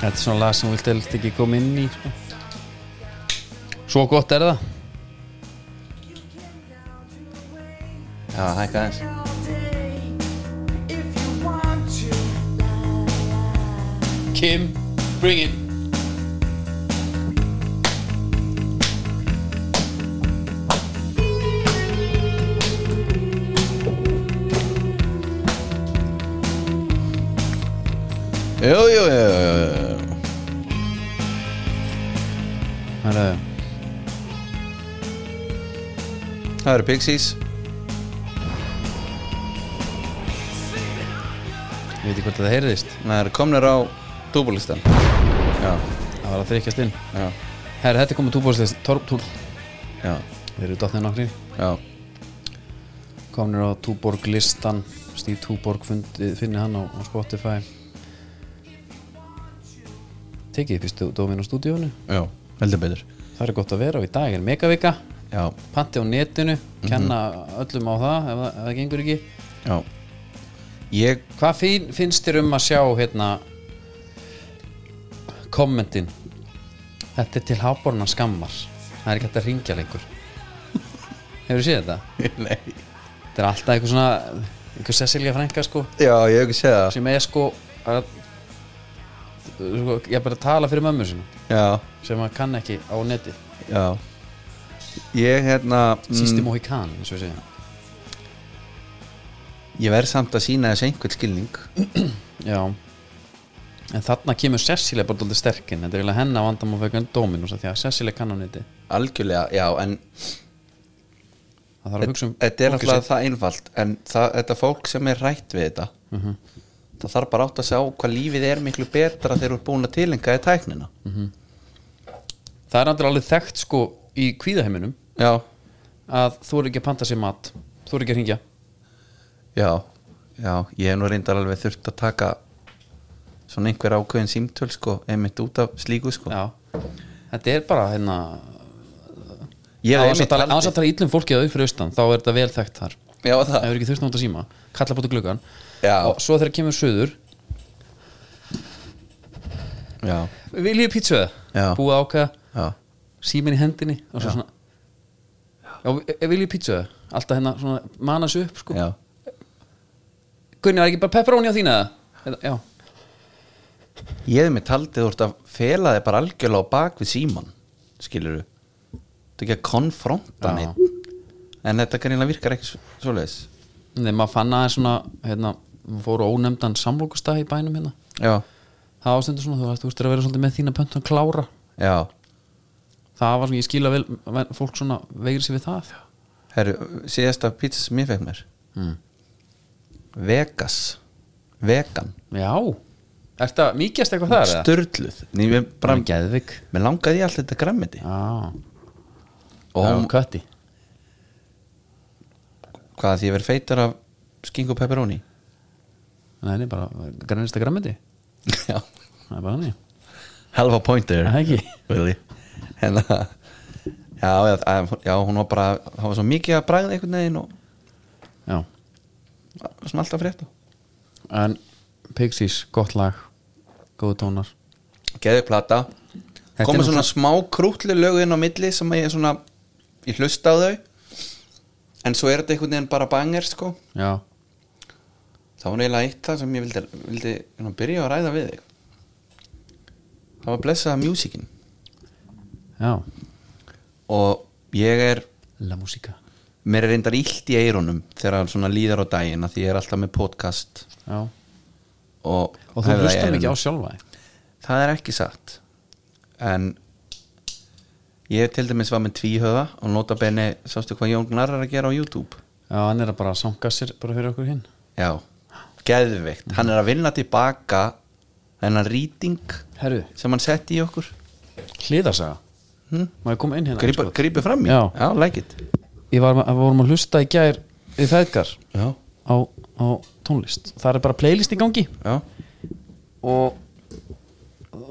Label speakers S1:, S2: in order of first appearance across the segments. S1: Þetta er svona lag sem þú vilt helst ekki koma inn í sko. Svo gott er það
S2: Já, hækka aðeins
S1: Kim, bring it
S2: Jú, jú, jú, jú, jú
S1: Herra,
S2: Það eru Pixies
S1: Ég veit ekki hvort það heyrðist
S2: Það eru komnir á dúbulistan Já,
S1: Það var að þrykjast inn
S2: já,
S1: Herra, þetta er komið túbólstæðis Torptúl
S2: já,
S1: Við erum dottnið nokkri
S2: já
S1: Komnir á Túborg listan Stíð Túborg fundi, finni hann á, á Spotify Tekið upp í stu, Dómin á stúdíónu
S2: Já, heldur betur
S1: Það er gott að vera og í dag er megavika
S2: Já,
S1: Panti á netinu, kenna öllum á það ef, það- ef það gengur ekki
S2: já Ég,
S1: Hvað fín, finnst þér um að sjá hérna kommentin Þetta er til háborna skammar Það er ekki hægt að ringja lengur Hefur þú séð þetta?
S2: nei
S1: Þetta er alltaf einhver svona einhver Cecilia Franka sko
S2: Já, ég hef ekki séð það
S1: sem er sko að sko, ég er bara að tala fyrir mömmu sinna
S2: Já,
S1: sem maður kann ekki á neti
S2: já Ég, hérna
S1: Sýsti mm. Mohikan, eins og við segja
S2: Ég verð samt að sína þessu einhvern skilning
S1: Já En þarna kemur Cecilia bara dálítið sterkinn Þetta er eiginlega henni á vandam og veginn dómin því að Cecilia kann á neti
S2: Algjörlega, já, en
S1: Það þarf að hugsa um
S2: þetta er
S1: fólkið
S2: alltaf það einfalt en það, þetta fólk sem er rætt við þetta það þarf bara átt að sjá hvað lífið er miklu betra þegar þú er búin að tilenga í tæknina
S1: sitt. Það er andur alveg þekkt sko í kvíðaheiminum
S2: já,
S1: að þú eru ekki að panta sér mat þú eru ekki að ringja
S2: já, já ég hef nú reyndar alveg þurft að taka svona einhver ákveðin símtöl sko, einmitt út af slíku sko
S1: Já Þetta er bara hérna
S2: ég hef
S1: Ás
S2: einmitt
S1: að
S2: aldrei
S1: tala íllum fólkið að upp fyrir austan þá er þetta vel þekkt þar Ef
S2: já, það,
S1: það eru ekki þurft nátt að síma kalla bóti gluggan
S2: Já.
S1: og svo þegar kemur söður
S2: já,
S1: viljið pítsuða
S2: Já.
S1: búið að ákveða
S2: já,
S1: símin í hendinni og svo svona já, e- viljið pítsuða alltaf hérna svona manas upp sko
S2: já
S1: Gunni var ekki bara pepperoni á þína eða? já
S2: ég hef einmitt aldrei þú ert að fela þig bara algjörlega á bak við síman skilur þú þetta er ekki að
S1: Já.
S2: konfronta neitt en þetta kannilega virkar ekki svo- svoleiðis
S1: Nei, maður fann aðeins svona hérna, maður fór á ónefndan samlokustag í bænum hérna
S2: já,
S1: það ástundur svona, þú veist, þú veist er að vera svolítið með þína pöntun klára,
S2: já
S1: það var svona, ég skila vel vel- fólk svona veigri sér við það
S2: Herru, síðasta pizza sem ég fekk mér
S1: Mm.
S2: Vegas Vegan
S1: já, er þetta mikjast eitthvað þar? eða?
S2: Sturluð Ný, mér, bara,
S1: Bara geðvik
S2: mér langaði í allt þetta græmmiti
S1: Já,
S2: Og hún,
S1: kötti
S2: hvað því ég verið feitar af skinku pepperoni
S1: Nei, nei, bara grænista græmiti
S2: Já
S1: Það er bara hann
S2: Halva point there
S1: Það er ekki
S2: Really Hérna já, já, að- já, hún var bara Það var svo mikið að bræða einhvern veginn Og
S1: Já,
S2: svona alltaf frétta
S1: en Pixies, gott lag Góðu tónar
S2: Geðið plata
S1: er
S2: Komið
S1: nú
S2: svona smá krútli lög inn á milli Sem að ég svona Ég hlusta á þau En svo er þetta einhvern veginn bara banger sko
S1: Já,
S2: Það var eiginlega eitt það sem ég vildi, vildi hérna, byrja að ræða við þig Það var blessaða músíkin
S1: já
S2: og ég er
S1: La músika
S2: mér er reyndar illt í eyrunum þegar svona líðar á daginn að því ég er alltaf með podcast
S1: Já,
S2: og,
S1: og þú hlustar ekki á sjálfa þig
S2: Það er ekki satt en ég til dæmis var með tvíhöða og nota beni, sástu hvað Jón Gnar er að gera á YouTube
S1: Já, hann er að bara sanga sér bara fyrir okkur hinn
S2: Já, geðveikt Hann er að vinna tilbaka þennan rýting
S1: Herru,
S2: sem hann setti í okkur
S1: hliðarsaga
S2: hm?
S1: Má ég koma inn hérna?
S2: grípa, grípa fram í
S1: Já.
S2: já like it
S1: Ég var að vorum að hlusta í gær í þæðgar
S2: já.
S1: á, á tónlist Það er bara playlist í gangi
S2: Já.
S1: og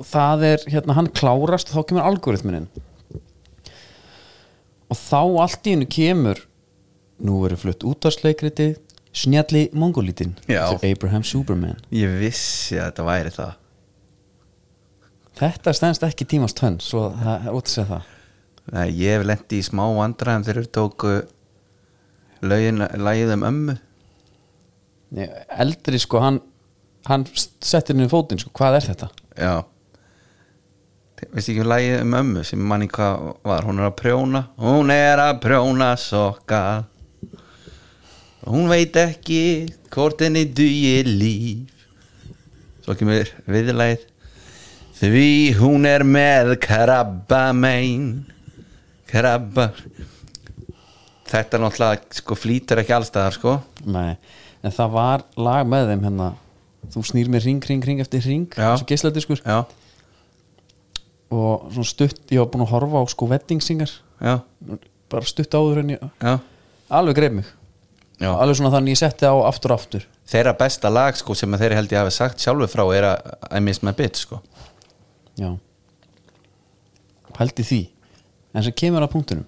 S1: það er hérna hann klárast og þá kemur algoritminin og þá allt í hennu kemur nú verið flutt útvarsleikritið snjalli mongolítinn
S2: Já.
S1: eftir Abraham Superman
S2: ég vissi að þetta væri það
S1: Þetta stendst ekki tímast tönn Svo það er út að segja það
S2: Nei, ég hef lendi í smá vandræðum þegar þeir tóku lögin, lagið um ömmu
S1: Ég, Eldri sko, hann Hann settir henni fótinn sko, hvað er þetta?
S2: Já Veistu ekki um lagið um ömmu sem manni hvað var, hún er að prjóna Hún er að prjóna sokka Hún veit ekki hvort henni dugi líf Svo kemur viðlagið Því hún er með krabba mein Krabba Þetta er náttúrulega sko flýtur ekki allstaðar sko
S1: Nei, en það var lag með þeim hérna Þú snýr mér ring, ring, ring eftir ring
S2: Já.
S1: Svo geisladiskur
S2: Já,
S1: Og svona stutt, ég var búin að horfa á sko Wedding Singer,
S2: já,
S1: bara stutt áður en ég
S2: já
S1: Alveg greif mig
S2: Já.
S1: Alveg svona þannig ég setti á aftur og aftur
S2: þeirra besta lag sko sem að þeir held ég hafi sagt sjálfur frá er að I miss my bitch sko
S1: Já Pældi því En sem kemur að punktunum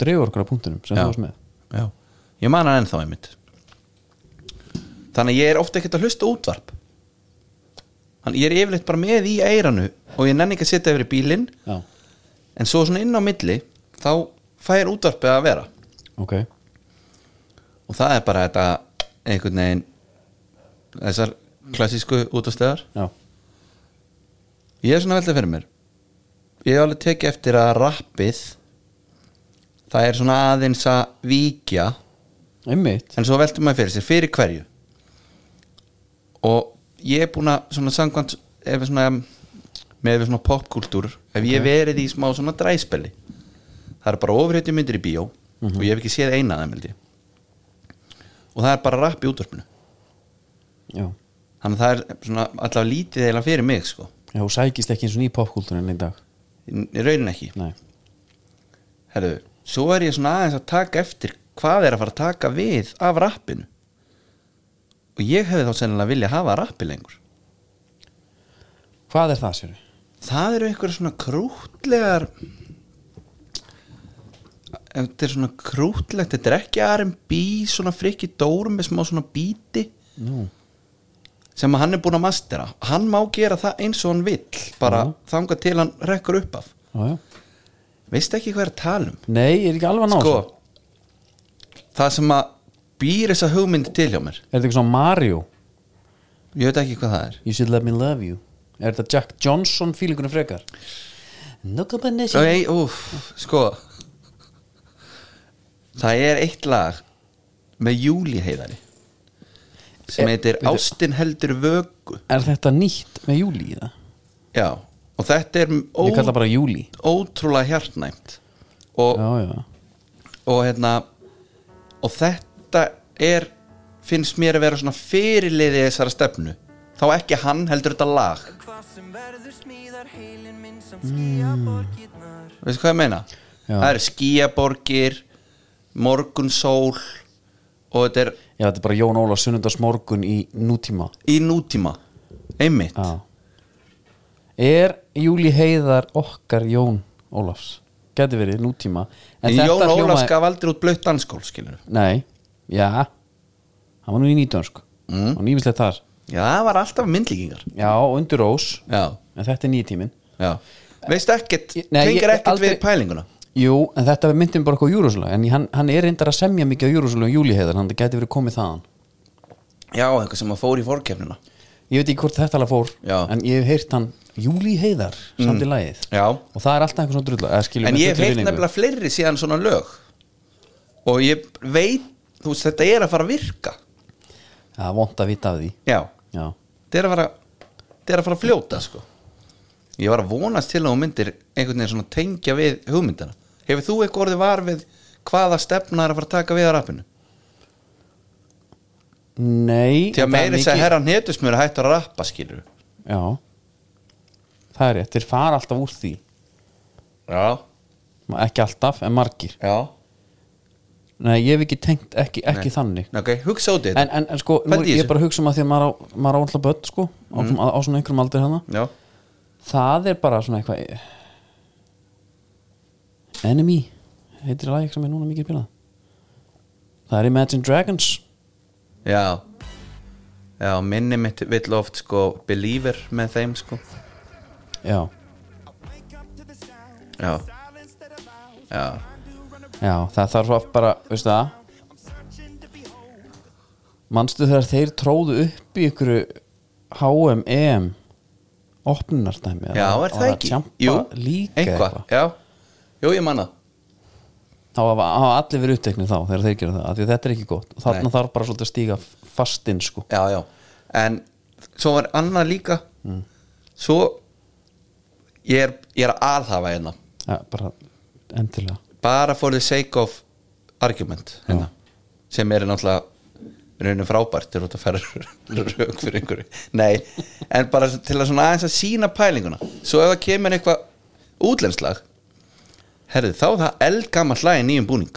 S1: Dreifur okkur að punktunum sem
S2: Já.
S1: þú varst með
S2: Já. ég man hann ennþá einmitt þannig að ég er ofta ekkert að hlusta á útvarp þannig ég er yfirleitt bara með í eiranu og ég nenni ekki að setja yfir í bílinn
S1: Já,
S2: en svo svona inn á milli þá fær útvarpið að vera
S1: ok
S2: og það er bara þetta einhvern veginn þessar klassísku útastöðar
S1: Já,
S2: Ég er svona veltið fyrir mér Ég hef alveg tekið eftir að rappið Það er svona aðeins að víkja
S1: einmitt
S2: En svo veltum maður fyrir sér, fyrir hverju Og ég er búin að svona samkvæmt Ef við svona Með við svona popkultúr Ef ég verið í smá svona dræspeli Það er bara ofrétti myndir í bíó Og ég hef ekki séð eina af þeim held ég Og það er bara rapp í útvarpinu
S1: Já,
S2: Þannig að það er svona allavega lítið eða fyrir mig sko
S1: já hún sækist ekki eins og ný popkultúrin í dag
S2: Í raunin ekki
S1: Nei,
S2: herru, svo er ég svona aðeins að taka eftir hvað er að fara að taka við af rappinu og ég hefði þá sennilega vilja hafa rappi lengur
S1: hvað er það sér?
S2: það eru einhverja svona krútlegar þetta er svona krútlegt þetta er ekki R&B svona frikki dórum með smá svona bíti
S1: Nú,
S2: sem að hann er búin að mastera hann má gera það eins og hann vill bara
S1: Já.
S2: þangað til hann rekkur upp af
S1: já, já
S2: veist ekki hvað er að tala um
S1: Nei, er ekki alveg að ná
S2: sko,
S1: þessu?
S2: það sem að býr þessa hugmynd til hjá mér
S1: Er þetta ekki svona Mario?
S2: Ég veit ekki hvað það er
S1: You should let me love you Er þetta Jack Johnson fílingunum frekar? No combination
S2: Nei, úf, sko Það er eitt lag með Júli heiðari sem
S1: Eh,
S2: heitir
S1: bíddu.
S2: Ástin heldur vöku
S1: Er þetta nýtt með júli í það?
S2: Já, og þetta er ó,
S1: Ég kalla bara júli
S2: ótrúlega hjartnæmt og,
S1: Já, já,
S2: og hérna og þetta er finnst mér að vera svona fyrirliði þessara stefnu þá ekki hann heldur þetta lag
S3: Hvað sem verður smíðar heilin minn samt skýja borgirnar
S2: veistu hvað ég meina?
S1: Já.
S2: Það eru skýjaborgir morgunsól og þetta er
S1: já, þetta er bara Jón Óla sunnundarsmorgun í nútíma
S2: í nútíma einmitt
S1: Já Er Júli Heiðar okkar Jón Ólafs? Gæti verið nútíma
S2: en
S1: þetta
S2: Jón
S1: hljómaði-
S2: Ólafs gaf aldrei út blöitt danskól skilur
S1: Nei, já Hann var nú í nýtönsk mm. Og nýmislegt þar
S2: já, það var alltaf myndlíkingar
S1: Já, og undir ós
S2: já,
S1: En þetta er nýtímin
S2: já veistu ekkert,
S1: Ég- nei,
S2: tengir
S1: ég-
S2: ekkert
S1: aldrei-
S2: við pælinguna
S1: Jú, en þetta myndum bara okkur Júrúsula En hann, hann er reyndar að semja mikið á Júrúsula um Júli Heiðar, hann gæti verið komið þaðan
S2: já, eitthvað sem að fór í fórkefnina
S1: Ég veit ekki hvort þetta alveg fór
S2: Já.
S1: En ég hef heyrt hann Júli Heiðar samt í lagið
S2: já,
S1: Og það er alltaf einhver svona drulla eða skilur
S2: en
S1: með
S2: ég hef
S1: fullri
S2: heilt
S1: virðingu.
S2: nefnilega fleiri síðan svona lög og ég veit þú veist, þetta er að fara að virka
S1: Já, vont að vita af því
S2: já,
S1: Já,
S2: þetta er að fara þetta er að fara að fljóta sko ég var að vonast til að hún myndir einhvern veginn svona tengja við hugmyndina hefur þú eitthvað orðið var við hvaða stefna er að fara að taka við að rappinu
S1: Nei
S2: Því
S1: en það
S2: að
S1: er
S2: meiri þess að
S1: mikið-
S2: herran hétusmur er hættur að rappa skilur
S1: Já Það er rétt, þeir fara alltaf úr því
S2: Já,
S1: Ma- Ekki alltaf, en margir
S2: já
S1: Nei, ég hef ekki tengt, ekki, ekki þannig
S2: Ok, hugsa út í þetta
S1: en, en, en sko, nú,
S2: Pældu í
S1: ég
S2: þessu. Mm.
S1: er bara að hugsa um að því að maður á, maður á alltaf börn sko, á, svona, á svona einhverjum aldrei hana
S2: Já,
S1: Það er bara svona eitthvað Enemy heitir lag sem er núna mikið pilað Það er Imagine Dragons
S2: já Já, minni mitt vill oft sko believer með þeim sko
S1: já,
S2: Já Já
S1: já, það þarf svo oft bara, veistu það manstu þegar þeir tróðu upp í ykkur HM, EM opnunarstæmi
S2: Já, er það ekki?
S1: Jú, líka eitthvað
S2: Já, jú, ég manna
S1: þá hafa hafa allir verið uppteknir þá þegar þeir gera það, af því að þetta er ekki gott og þarna
S2: Nei.
S1: þarf bara svolítið að stíga fastinn sko.
S2: Já, já Mm. En svo var annað líka Svo Ég er, ég er að alhafa hérna
S1: ja, bara endilega
S2: Bara for the sake of argument hérna, Sem er náttúrulega Raunin frábært er út að færa rauk fyrir einhverju Nei, en bara til að svona aðeins að sína pælinguna Svo ef það kemur eitthvað útlenslag Herðu, þá er það eldgammal hlæði nýjum búning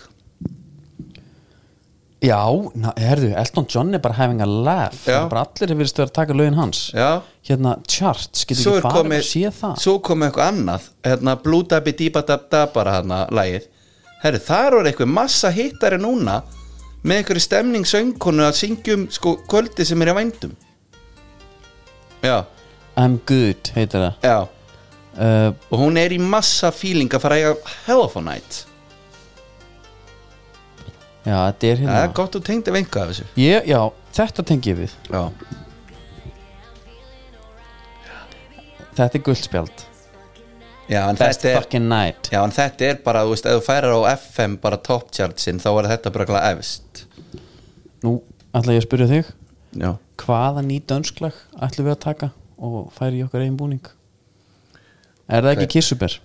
S1: Já, na, herðu, Elton John er bara having a laugh
S2: Já.
S1: Það er bara allir er virðist verið að taka lögin hans
S2: Já.
S1: Hérna, charts, getur
S2: svo
S1: ekki
S2: er
S1: farið
S2: komið
S1: að sé það
S2: svo komið eitthvað annað hérna Blue Dabby Deepa Dab Dab bara hérna lægið herru þar var eitthvað massa hittari núna með einhverju stemning söngkonu að syngjum sko kvöldi sem er í vændum já,
S1: I'm good, heitir það
S2: já
S1: uh,
S2: og hún er í massa feeling að fara að eiga Hell of a Night
S1: Já, þetta er
S2: það er
S1: hérna
S2: gott og tengd ef einhvað af þessu
S1: ég, Já, þetta tengi ég við
S2: já,
S1: Þetta er guldspjald
S2: já, en,
S1: Best
S2: þetta er,
S1: fucking night
S2: já en þetta er bara þú veist, ef þú færir á FM bara top chartsin þá er þetta bara glæð efst
S1: Nú, ætla ég að spyrja þig
S2: já
S1: Hvaða ný dönsklag ætlum við að taka og færi í okkar eigin búning Er það ekki
S2: Hver-
S1: kissuber?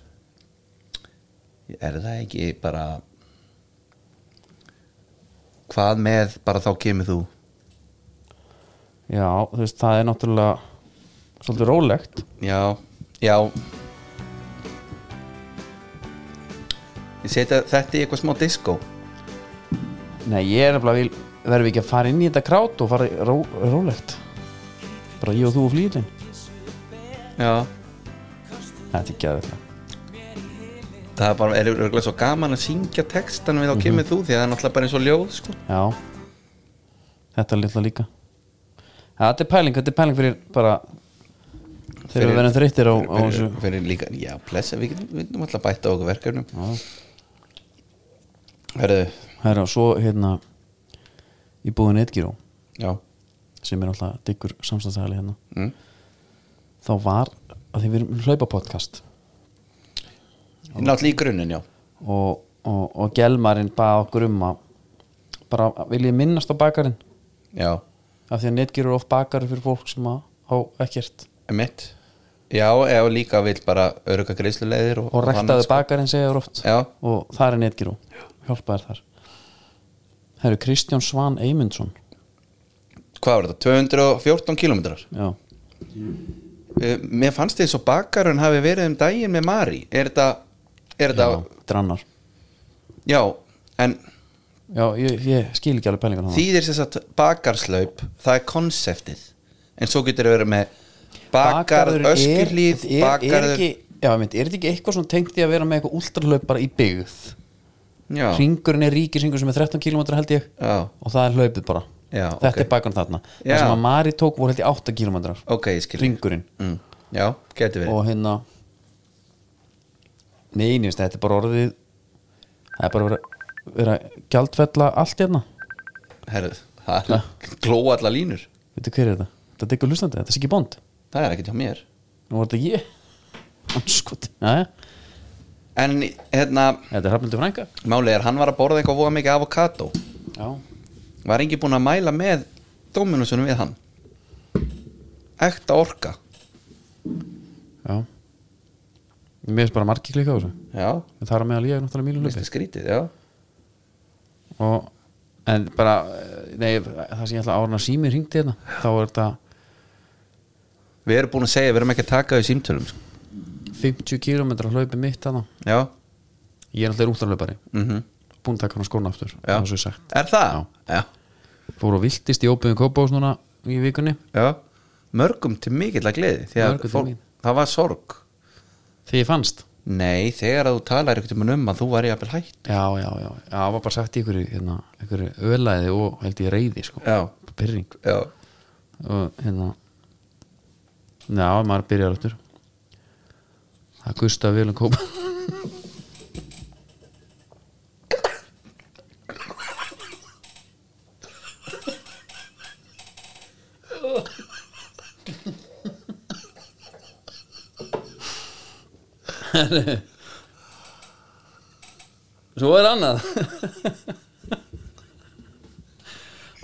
S2: er það ekki bara hvað með bara þá kemur þú
S1: Já, þú veist, það er náttúrulega svolítið rólegt
S2: já, já ég setja þetta í eitthvað smá disco
S1: Nei, ég er nefnilega vil verðum við ekki að fara inn í þetta krát og fara í ró, rólegt bara ég og þú og flýtin
S2: já,
S1: Þetta er gæðilega
S2: það er bara er örgulega svo gaman að syngja textan við þá kemur þú því að það er náttúrulega bara eins og ljóð sko.
S1: Já Þetta er litla líka ja, Þetta er pæling, þetta er pæling fyrir bara þegar
S2: Fyrir-
S1: við verðum þreyttir á, á þessu
S2: fyrir, fyrir líka, já, blessa, við getum- við getum alltaf bæta á okkur verkefnum
S1: Já.
S2: herðu,
S1: Herra, og svo hérna í búin Edgiró
S2: já
S1: sem er alltaf diggur samstæðsæli hérna
S2: mm.
S1: þá var, að því við erum hlaupa podcast
S2: náttúrulega í grunninn, já
S1: og, og, og gelmarinn bað okkur um að bara vil ég minnast á bakarinn
S2: já,
S1: af því að netgerur of bakar fyrir fólk sem að á ekkert
S2: emitt já, eða líka vill bara örga greiðsluleiðir og,
S1: og
S2: annað,
S1: rektaðu
S2: sko.
S1: bakarinn segja þér oft
S2: Já.
S1: og það er netgeru, hjálpa þér þar Herru, Kristján Svan Eymundsson
S2: hvað var þetta, 214 kilometrar
S1: já,
S2: uh, mér fannst þið svo bakarun hafi verið um daginn með Mari er þetta, er
S1: já
S2: þetta já.
S1: drannar
S2: en
S1: já, ég, ég skil ekki alveg pælingan hann
S2: þýðir þess að bakarslaup það er konseptið en svo getur þið verið með bakarður öskirlíð
S1: er, er, er,
S2: bakarður
S1: ekki, já, mynd, er þetta ekki eitthvað svona tengt í að vera með eitthvað últralöp bara í byggð
S2: já,
S1: ringurinn er ríkisringur sem er 13 km held ég
S2: já,
S1: og það er hlaupið bara
S2: Já,
S1: þetta
S2: ok.
S1: er bakarn þarna
S2: Já.
S1: það sem að Mari tók voru held ég 8 km
S2: ok, ég skil
S1: ringurinn
S2: mm, já, getur verið
S1: og hérna nei, nýjast, þetta er bara orðið það er bara verið verið að gjaldfella allt hérna
S2: Herðu, það er glóa alla línur
S1: veitu hver er þetta? Þetta er diggur hlustandi, þetta er Siggi Bond
S2: það er ekkert hjá mér
S1: nú var þetta ég Andskot. Jæja,
S2: en hérna,
S1: þetta er Hrafnildur Frænka
S2: málið er hann var að borða eitthvað voða mikið avokado
S1: já,
S2: var engi búin að mæla með Dóminusunum við hann ekta orka
S1: já mér finnst bara margi klika á þessu
S2: já,
S1: En það er að meðal ég er náttúrulega mínu
S2: minnst
S1: hlaupi
S2: það skrítið, já
S1: og en bara, eh, nei, það sem ég ætla að árna sími ringdi hérna, þá er þetta
S2: við erum búin að segja, við erum ekki að taka þau símtölum sko.
S1: 50 km hlaupi mitt hana
S2: já,
S1: ég er alltaf rúntarlaupari
S2: mhm
S1: búin að taka hann skóna aftur
S2: já.
S1: eins og ég sagt.
S2: er það? Já.
S1: fór og viltist í óbyggðum kópás núna í vikunni
S2: Já. mörgum til mikill að gleði því að
S1: Mörgum til
S2: fólk,
S1: mín.
S2: það var sorg
S1: þegar ég fannst
S2: nei, þegar að þú talar eitthvað um að þú var í aðbel hætt
S1: já, já, já, já, það var bara sagt í ykkur hérna, ykkur ölaði og held ég reyði sko,
S2: já,
S1: pyrring
S2: já,
S1: og hérna já, maður byrjar aftur að Gustaf Vilum kópa Svo er annað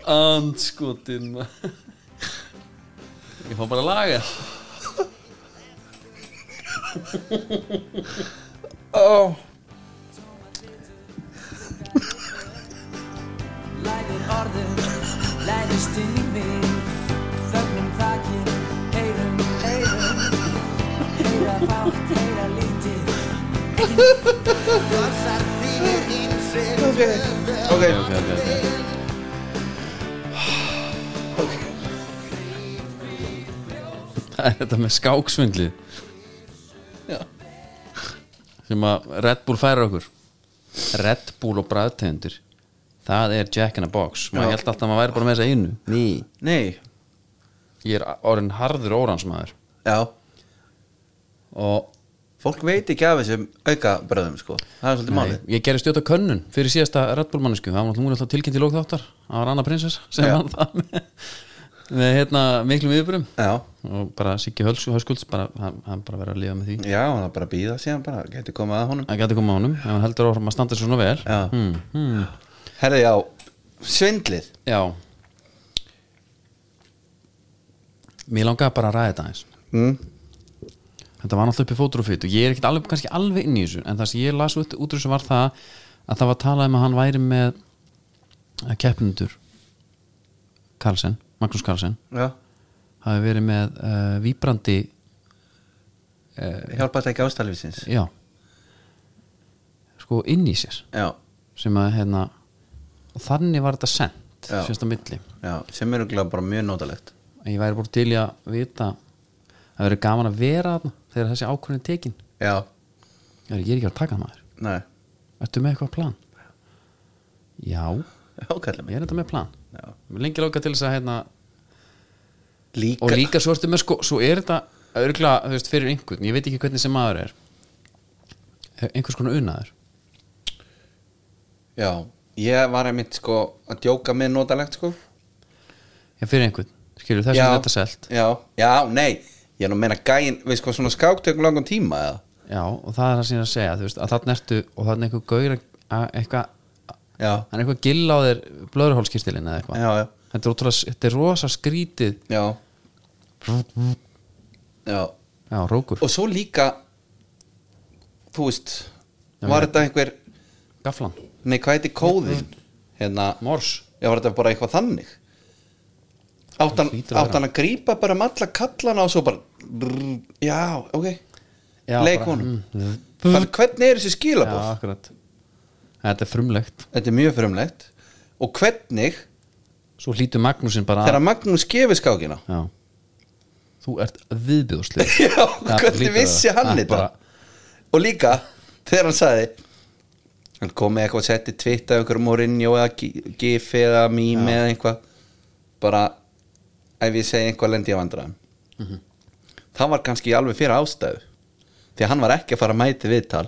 S1: Andskotin maður. Ég fá bara að laga
S2: oh.
S3: Læðir orðum, læðist inn í mig Þögnum þakin, heyrum, heyrum Heyra fátt, heyra lítið
S2: Ok, ok,
S1: okay, okay, okay. Það er þetta með skáksvindli
S2: Já.
S1: sem að Red Bull færa okkur Red Bull og bræðtegundir það er Jack in a Box maður
S2: Já.
S1: held alltaf að maður væri bara með þessa einu Ný.
S2: Nei,
S1: ég er orðin harður óransmaður
S2: já
S1: og
S2: Fólk veit ekki af þessum auka bröðum sko Það er
S1: Nei,
S2: svolítið málið
S1: ég gerði stjóta könnun fyrir síðasta Red Bull mannesku það var náttúrulega hún er alltaf tilkynnt í lók þáttar það var Anna Prinsess sem
S2: Já.
S1: var það með, með hérna, miklum yfirbrum
S2: Já,
S1: og bara Siggi Hölsjú Höskulds bara, hann, hann bara verið að lifa með því
S2: já, það er bara að býða síðan bara, geti komið að honum
S1: hann gæti komið á honum, ef hann heldur áfram að standa sig svona vel
S2: Já.
S1: hmm, hmm.
S2: Herði, já, svindlið
S1: já mér langaði bara að ræða þetta aðeins
S2: mm.
S1: þetta var náttúrulega uppi fótur og fyrt og ég er ekkit alveg, kannski alveg inn í þessu en það sem ég las út, út úr þessu var það að það var talað um að hann væri með keppnundur Karlsen, Magnús Karlsen
S2: Já,
S1: hafi verið með uh, víbrandi
S2: hjálpast ekki ástælfisins
S1: já sko inn í sér
S2: Já,
S1: sem að hérna og þannig var þetta sent
S2: Já.
S1: sérst á milli
S2: já, sem eru glæð bara mjög notalegt
S1: en ég væri búin til í að vita það verið gaman að vera þarna þegar þessi ákvörðin er tekin
S2: Já,
S1: ég er ég er ekki að taka maður
S2: nei,
S1: ertu með eitthvað plan? já,
S2: ákallið
S1: ég
S2: mig
S1: er þetta með plan
S2: Já.
S1: Mér lengi lóka til þess að hérna
S2: Líka,
S1: og líka svo ertu með sko, svo er þetta örgla, þú veist, fyrir einhvern, ég veit ekki hvernig sem maður er Eh, einhvers konar unnaður
S2: já Ég var einmitt sko að djóka með notalegt sko
S1: já, fyrir einhvern, skilur þess að þetta selt
S2: Já, já, nei Ég er nú að meina gæin, veist sko, svona skáktökum langan tíma eða
S1: já, og það er það sem ég er að segja, þú veist, að þarna ertu og þarna er einhver gaur að- að eitthvað
S2: Já,
S1: hann er eitthvað gill á þér blöðurhólskirtilin eða eitthvað
S2: já, já,
S1: þetta er, ótrúlega, þetta er rosa skrítið
S2: já Já,
S1: já, rókur,
S2: og svo líka þú veist var þetta einhver,
S1: gaflan,
S2: nei hvað heiti kóðin hérna,
S1: mors
S2: já var þetta bara eitthvað þannig átt hann,
S1: Það hlýtur að
S2: átt hann að grípa bara um alla kallana og svo bara brr, já, ok
S1: Já,
S2: leik
S1: bara,
S2: honum
S1: mm,
S2: Bara, hvernig er þessi
S1: já,
S2: skilabóð
S1: akkurat þetta er frumlegt,
S2: þetta er mjög frumlegt og hvernig
S1: svo hlýtur Magnúsin bara
S2: þegar Magnús gefið skákina
S1: já þú ert viðbjóðslið
S2: Já, hvernig vissi hann þetta? og líka þegar hann sagði hann kom með eitthvað að setja tvitta einhverjum morinjó eða gi- gif eða mím eða einhvað bara ef ég segi einhvað lendi ég vandraðum mm
S1: Mhm.
S2: það var kannski alveg fyrir ástæðu því að hann var ekki að fara að mæti viðtal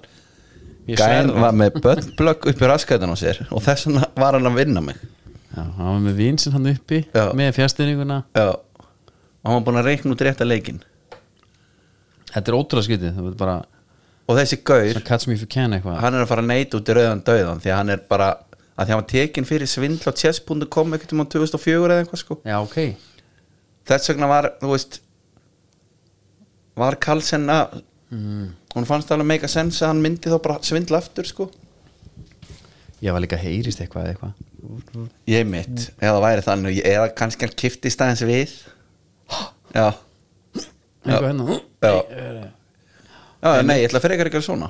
S1: Ég sver
S2: Gæn
S1: það.
S2: var með börnblögg upp í raskætan á sér og þess vegna var hann að vinna mig
S1: já, hann var með vinsinn hann uppi
S2: Já.
S1: með fjastýringuna,
S2: Já. og hann var búin að reikna út rétt að leikin
S1: þetta er ótrúlega skrítið það er bara,
S2: og þessi gaur
S1: svona catch me if you can eitthvað
S2: hann er að fara að neyta út í rauðan döðan því að hann er bara að því að hann var tekin fyrir svindl á chess.com ekkert um á 2004 eða eitthvað sko
S1: já, ok,
S2: þess vegna var, þú veist var Karlsen að hún fannst alveg meika sens að hann myndi þá bara svindla aftur sko
S1: ég var líka heyrist eitthvað eða eitthvað
S2: ég mitt, mm. eða væri þannig ég- eða kannski hann kifti staðins við já,
S1: eitthvað hérna
S2: já. já nei, ég ætla fyrir ekki að gera svona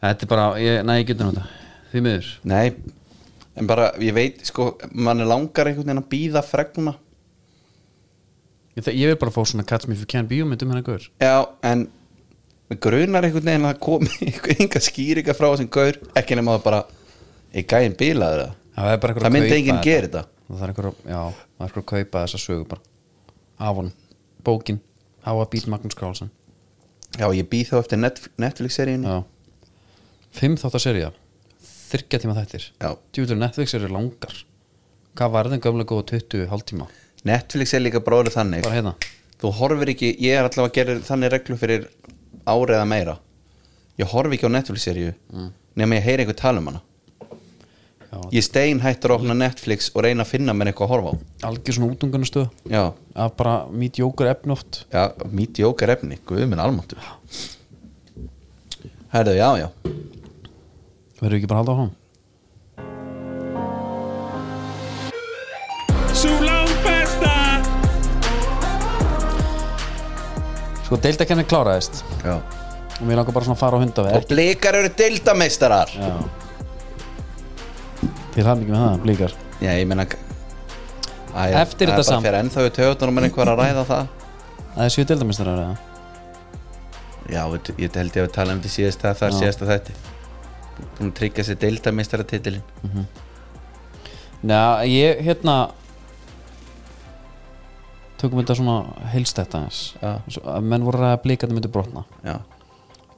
S1: Þetta er bara, ég, nei, ég getur náttúrulega Því miður
S2: nei, en bara ég veit sko, mann er langar einhvern veginn að býða fregna
S1: Ég, þa- ég vil bara fá svona catch me if you can bíómynd um hennar gaur
S2: Já, en mig grunar einhvern veginn að komi einhver skýringa frá þessum gaur ekki nema það bara í gæðin bílaður það
S1: Það er bara
S2: það myndi enginn gera þetta
S1: Það er einhver, að- já, það er einhver að kaupa þessa sögu bara Af honum, bókin How I Beat Magnús Carlsen
S2: já, ég býð þá eftir Netf- Netflix-seríunni
S1: Já Fimm þáttar serja Þyrkja tíma þættir
S2: Já.
S1: Djúður Netflix eru langar Hvað var þeim gamlega góða 20 hálftíma?
S2: Netflix er líka bróður þannig
S1: Bara hérna
S2: þú horfir ekki, ég er allavega að gera þannig reglu fyrir ári eða meira ég horfi ekki á Netflix-seríu
S1: Mm.
S2: nema ég heyri einhver tala um hana
S1: Já.
S2: ég stein hættur að opna Netflix og reyna að finna mér eitthvað að horfa á
S1: Algjör svona útungunastöð
S2: já,
S1: Af bara mítjókur efni oft
S2: já, mít jókar efni guðminn almáttur herðu, já, já
S1: Verður ekki bara að halda á hann?
S4: Sú langt besta
S1: Sko, deildakennin kláraðist
S2: já
S1: Og mér langar bara svona að fara á hundaveg
S2: og blikar eru deildameistarar
S1: Já Til hann ekki með það, blíkar
S2: já, ég meina Æ,
S1: Eftir þetta
S2: það er bara
S1: samt.
S2: fyrir ennþá í töðunum en einhver að ræða það
S1: Það er sjö deildamistarar eða?
S2: Já, við- ég held ég að tala um því síðast að það er
S1: Já.
S2: síðast að þetta Búin að tryggja sér deildameisteratitilin
S1: Næ, ég, hérna Tökum þetta svona heilstætt aðeins
S2: Já.
S1: Svo að Menn voru að ræða blíkarnir myndu brotna
S2: Já,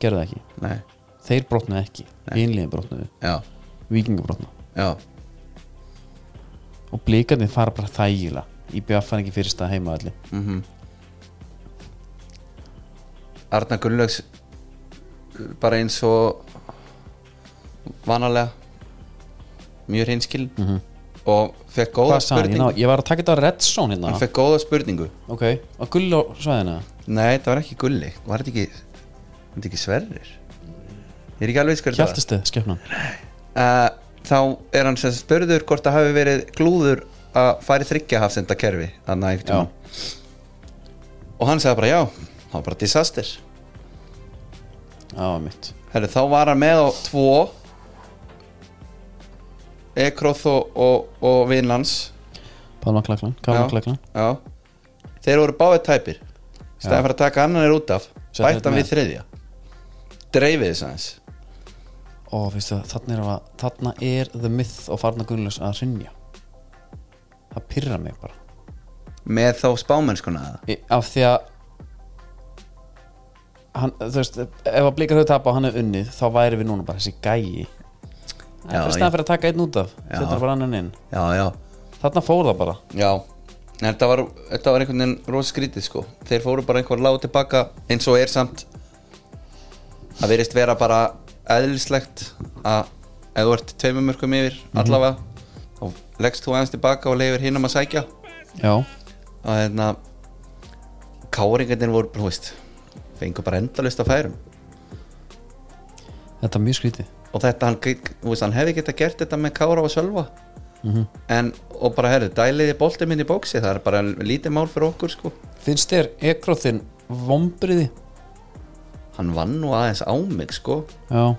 S1: Gerðu það ekki
S2: nei,
S1: Þeir brotnuðu ekki, einliðin brotnuðu
S2: já,
S1: Víkingar brotna
S2: já
S1: Og blíkarnir fara bara þægilega IBF fann ekki fyrsta heima allir
S2: mm Arna Gunnlaugs bara eins og vanalega mjög hinskil og fekk
S1: Mhm.
S2: góða
S1: Hvað sagði ég?
S2: spurningu
S1: Ná, Ég var að taka þetta á Red Zone hérna
S2: hann fekk góða spurningu
S1: Ok, að gull á svæðina
S2: Nei, þetta var ekki Gulli, var þetta ekki var þetta ekki Sverrir Ég er ekki alveg skurð
S1: Hjaltistið, skefnan
S2: uh, þá er hann sem sagt spurður hvort það hafi verið glúður að færi þryggja hafsenda kerfi
S1: Já.
S2: og hann sagði bara já það var bara disaster
S1: Já, mitt
S2: Herru, þá var hann með á tvo Ekroth og, og, og Vinlands
S1: Palma klaklan, Kalma klaklan
S2: já. þeir voru báðið tæpir stæðan fyrir að taka annan er út af
S1: Settu
S2: bætt
S1: þetta
S2: hann
S1: með.
S2: við þriðja dreifið þess aðeins
S1: Ó, veistu, þarna er, að, þarna er the myth of Arna Gunnlaus að rinja Það pyrra mig bara
S2: með þá spámennskuna eða?
S1: Í- af því að hann, þú veist, ef að blíkar höfðu tapa og hann er unnið, þá væri við núna bara þessi gæi Það er
S2: Já, ég-
S1: staðan fyrir að taka einn út af
S2: Já.
S1: setur bara annan inn,
S2: já, já,
S1: þarna fór það bara
S2: Já, en þetta var, þetta var einhvern veginn rosa skrítið sko Þeir fóru bara einhver lág tilbaka eins og er samt Það verist vera bara eðlislegt að ef þú ert tveimur mörgum yfir allavega þá leggst þú aðeins tilbaka og leifir hinum að sækja
S1: Já,
S2: og hérna káringarnir voru, þú veist fengur bara endalust að færum
S1: þetta er mjög skrítið
S2: og þetta, hann, gæ- þú veist, hann hefði geta gert þetta með kára og sölva en, og bara, herðu, dæliði boltið minn í bóksi það er bara lítið mál fyrir okkur sko
S1: Finnst þér ekróþinn vombriði?
S2: hann vann nú aðeins á mig sko
S1: Já,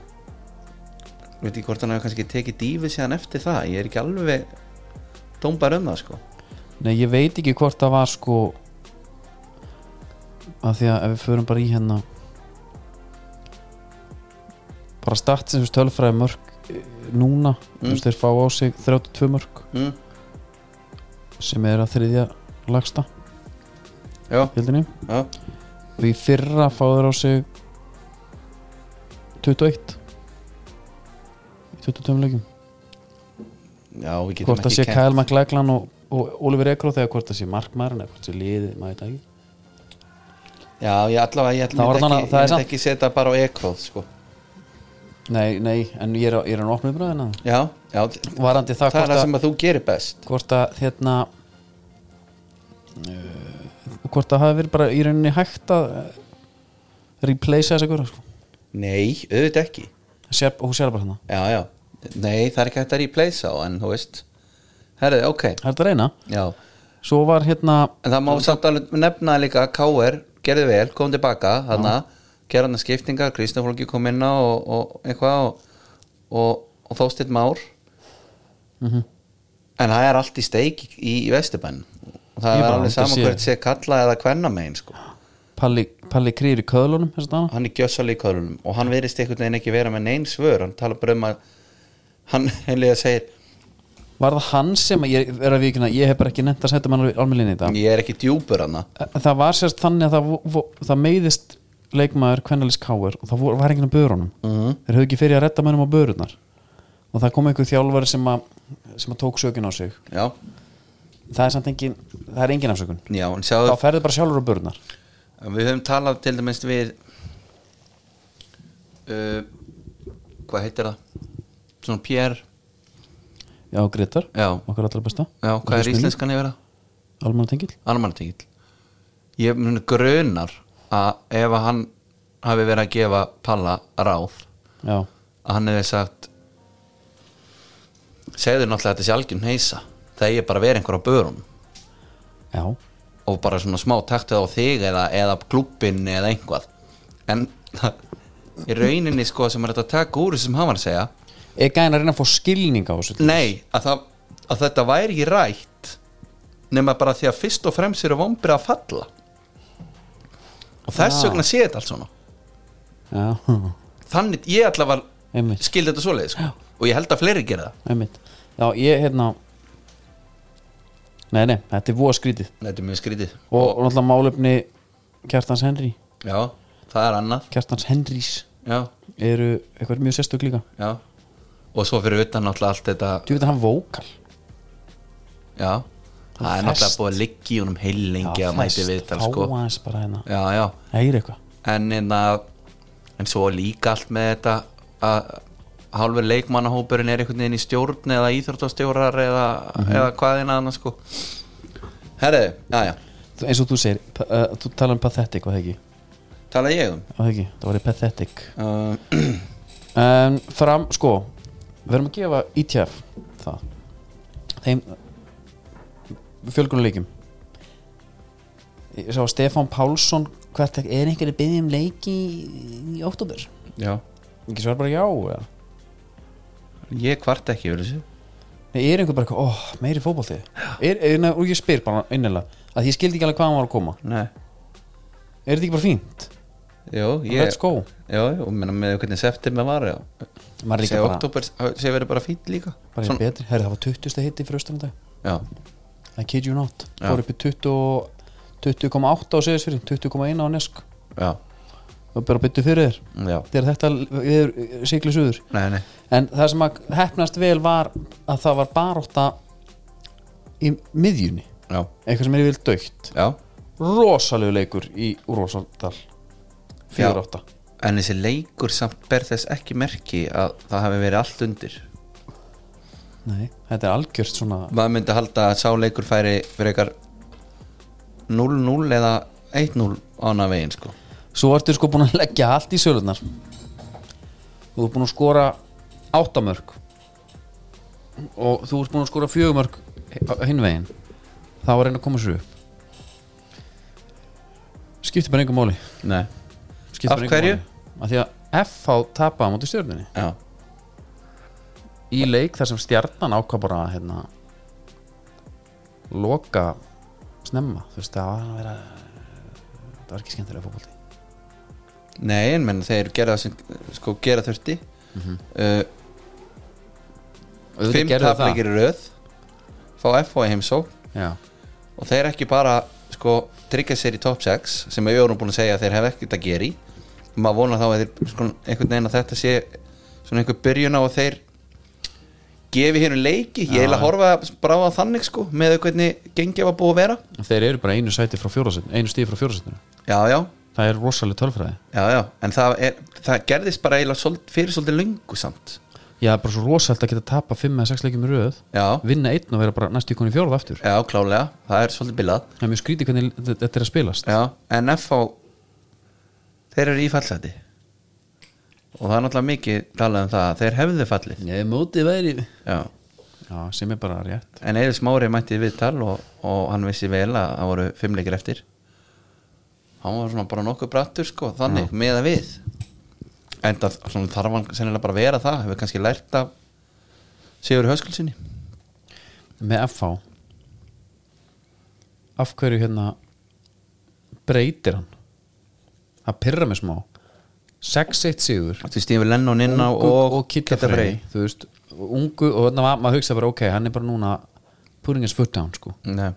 S2: veit ekki hvort hann hefur kannski tekið dífið síðan eftir það ég er ekki alveg tómbar um það sko
S1: nei, ég veit ekki hvort það var sko af því að ef við förum bara í hérna bara statsins tölfræði mörg eh, núna, þú veist, þeir fá á sig 32 mörg
S2: mm.
S1: sem er að þriðja lagsta
S2: já,
S1: hildinni
S2: já,
S1: og í fyrra fáður á sig 21 í 22 leikum
S2: já, við getum
S1: hvort það sé
S2: ekki
S1: Kyle McLachlan og, og Oliver Ekroth eða hvort það sé markmærin eða hvort það sé liðið maður þetta ekki
S2: já, ég allavega, ég
S1: Það var
S2: allavega myndi
S1: þannig að það
S2: ekki,
S1: er
S2: ég myndi
S1: samt-
S2: ekki setja bara á ekvóð sko
S1: nei, nei, en ég er, á- ég er að opna umræðina
S2: já, já, það,
S1: varandi það, hvort,
S2: er það
S1: að,
S2: sem að þú gerir best
S1: hvort að hérna uh, hvort það hafi verið bara í rauninni hægt að uh, replacea þess að góra sko.
S2: nei, auðvitað ekki
S1: Sér, og hún sér bara hérna
S2: já, já, nei, það er ekki hægt að replace á en þú veist, herrið, ok
S1: það er þetta að reyna
S2: já,
S1: svo var hérna
S2: En það má samt alveg nefna líka að K.R. gerði vel, kom tilbaka þarna, gerði hann skiptingar, Kristján Flóki kom inn á og, og eitthvað og, og, og Þósteinn Már
S1: Mhm.
S2: en það er allt í steik í, í Vesturbæn og
S1: Ég
S2: það er
S1: bara
S2: alveg
S1: held að
S2: saman
S1: sé.
S2: hvert sé kalla eða hvenna megin sko.
S1: Palli, Palli Krýr í köðlunum þess að dana
S2: hann er gjössalí í köðlunum og hann verðist einhvern veginn ekki vera með neins svör hann tala bara um að hann heilega segir,
S1: Var það hann sem, ég er að vikuna ég hef bara ekki nefnt að setja mann alveg alveg inn í þetta
S2: ég er ekki djúpur hann
S1: Það var sérst þannig að það, vo- vo- það meiðist leikmaður kvennalis káir og það voru, var enginn á börunum
S2: Mhm.
S1: þeir höfðu ekki fyrir að redda mönnum á börunar og það kom einhver þjálfari sem að sem að tók sökin á sig
S2: já,
S1: það er samt engin, það er engin afsökun
S2: já, en
S1: þá
S2: sjáðu
S1: ferðu bara sjálfur á börunar
S2: við höfum talað til dæmis við uh, hvað heitir það svona Pierre
S1: já, Gretar,
S2: já,
S1: okkar allra besta
S2: já hvað er íslenskan yfir það
S1: almanna tengil
S2: almannatengill ég mun grunar að ef að hann hafi verið að gefa Palla ráð
S1: já,
S2: að hann hefði sagt segðu náttúrulega að þetta sé algjörn heisa það er bara að vera einhver á börun
S1: já,
S2: og bara svona smá taktið á þig eða, eða klubbin eða einhvað en í rauninni sko sem er þetta að taka úr þessu sem hann var að segja
S1: er gæðin að reyna að fá skilning á þessu
S2: nei, að, það, að þetta væri ekki rætt nema bara því að fyrst og fremst eru vombrið að falla og þess
S1: Ah.
S2: vegna sé þetta allt svona
S1: já,
S2: þannig ég allavega
S1: einmitt
S2: skildi þetta svoleiðis sko. og ég held að fleiri gera það
S1: einmitt, já, ég hérna nei, nei, þetta er voða skrítið
S2: þetta er mjög skrítið
S1: og, og náttúrulega málefni Kjartans Henry
S2: já, það er annað
S1: Kjartans Henrys
S2: já,
S1: eru eitthvað mjög sérstök líka
S2: já. og svo fyrir utan náttúrulega allt þetta
S1: þú veit að hann vókal
S2: já, það
S1: fest.
S2: er náttúrulega búið að liggja í honum heil lengi að mæti viðtal sko.
S1: aðeins bara hérna
S2: já, já,
S1: það er eitthvað
S2: en, en, en svo líka allt með þetta að hálfur leikmannahópurinn er einhvern veginn í stjórn eða íþróttastjórar eða, eða hvaðina annars sko herri, já, já,
S1: Þú- eins og þú segir, pa- uh, þú tala um pathetic var það ekki,
S2: tala ég um
S1: var það ekki, það var í pathetic
S2: uh,
S1: en fram, sko við erum að gefa ITF það þeim fjölgunar leikum ég sá að Stefán Pálsson hvert er einhverju byggði um leiki í, í oktober
S2: já,
S1: ekki svar bara já eða?
S2: ég kvart ekki yfir þessu
S1: Nei, er einhver bara, eitthvað, óh, meiri fótbolti er, er, er, og ég spyr bara innilega að ég skildi ekki alveg hvað hann var að koma
S2: nei
S1: er þetta ekki bara fínt,
S2: Jó, ég,
S1: let's go
S2: já, já, menna með hvernig september var já.
S1: maður er
S2: Segja
S1: líka bara,
S2: oktober, segja verið bara fínt líka
S1: bara Svon... betri, herri það var 20. hitti fyrir austan í dag
S2: Já,
S1: I kid you not
S2: Já.
S1: fór upp í 20 og- 20,8 á seðisfyrir 20,1 á nesk
S2: já,
S1: og bara byttu fyrir þér
S2: já
S1: þegar þetta við siglis úr
S2: Nei, nei,
S1: en það sem að hefnast vel var að það var baróta í miðjunni
S2: já,
S1: eitthvað sem er yfir dögt
S2: já
S1: rosalegu leikur í Úrvalsdal 4-8
S2: En þessi leikur samt ber þess ekki merki að það hafi verið allt undir
S1: Nei, þetta er algjört svona
S2: Maður myndi halda að sá leikur færi fyrir eitthvað 0-0 eða 1-0 ána veginn sko
S1: svo ertu sko búin að leggja allt í sölunar þú ert búin að skora áttamörk og þú ert búin að skora fjögumörk hinvegin þá var reyna að koma sér upp skiptir bara engum máli
S2: Nei,
S1: skiptir
S2: Af
S1: bara engu
S2: hverju?
S1: máli. af því að FH tapaði á móti stjörnunni
S2: já,
S1: í leik þar sem stjarnan ákvað bara að, hérna, loka snemma þú veist það var að vera það var ekki skemmtilega fótbolti
S2: nei, en menn þeir gera það sem sko gera þurfti uh,
S1: Mhm. Auðvitað
S2: Fimm
S1: gerðu þau það.
S2: tapleikir í röð Fá E FH í heimsók
S1: já,
S2: og þeir ekki bara sko, tryggja sér í top 6 sem við vorum búin að segja að þeir hef ekkert að gera í maður vonar þá að þeir sko, einhvern veginn að þetta sé svona einhver byrjun á að þeir gefi hérna leiki ég heila horfa bara á það þannig sko með hvernig gengið var búið að vera
S1: þeir eru bara einu sæti frá fjórasetinu einu stíð frá fjórasetinu
S2: já já,
S1: það er rosalega tölfræði
S2: já já en það, er, það gerðist bara eiginlega svol, fyrir svolítið lungu samt
S1: ég er bara svo rosalegt að geta tapa 5 eða 6 leikjum í röð
S2: já,
S1: vinna einn og vera bara næstu í koni fjórað aftur
S2: já klálega, það er svolítið bilað
S1: það er mjög skrítið hvernig þe- þetta er að spilast
S2: Já, en FH þeir eru í fallsæti og það er náttúrulega mikið talað um það að þeir hefðu fallið
S1: ég mótið væri
S2: Já.
S1: já, sem er bara rétt
S2: en Eður Smári mætti við tal og, og hann vissi vel að það voru fimmleikir eftir hann var svona bara nokkuð brattur sko, þannig, Já. með að við en það svona, þarf hann sennilega bara að vera það, hefur kannski lært af Sigur Höskulsinni
S1: með FH af hverju hérna breytir hann það pyrra mig smá 6-1 sigur
S2: Þú stífur Lennon inn á
S1: Ungu
S2: og,
S1: og Kitta Frey þú veist, ungu og þarna var maður hugsa bara ok, hann er bara núna putting his foot down sko
S2: Nei,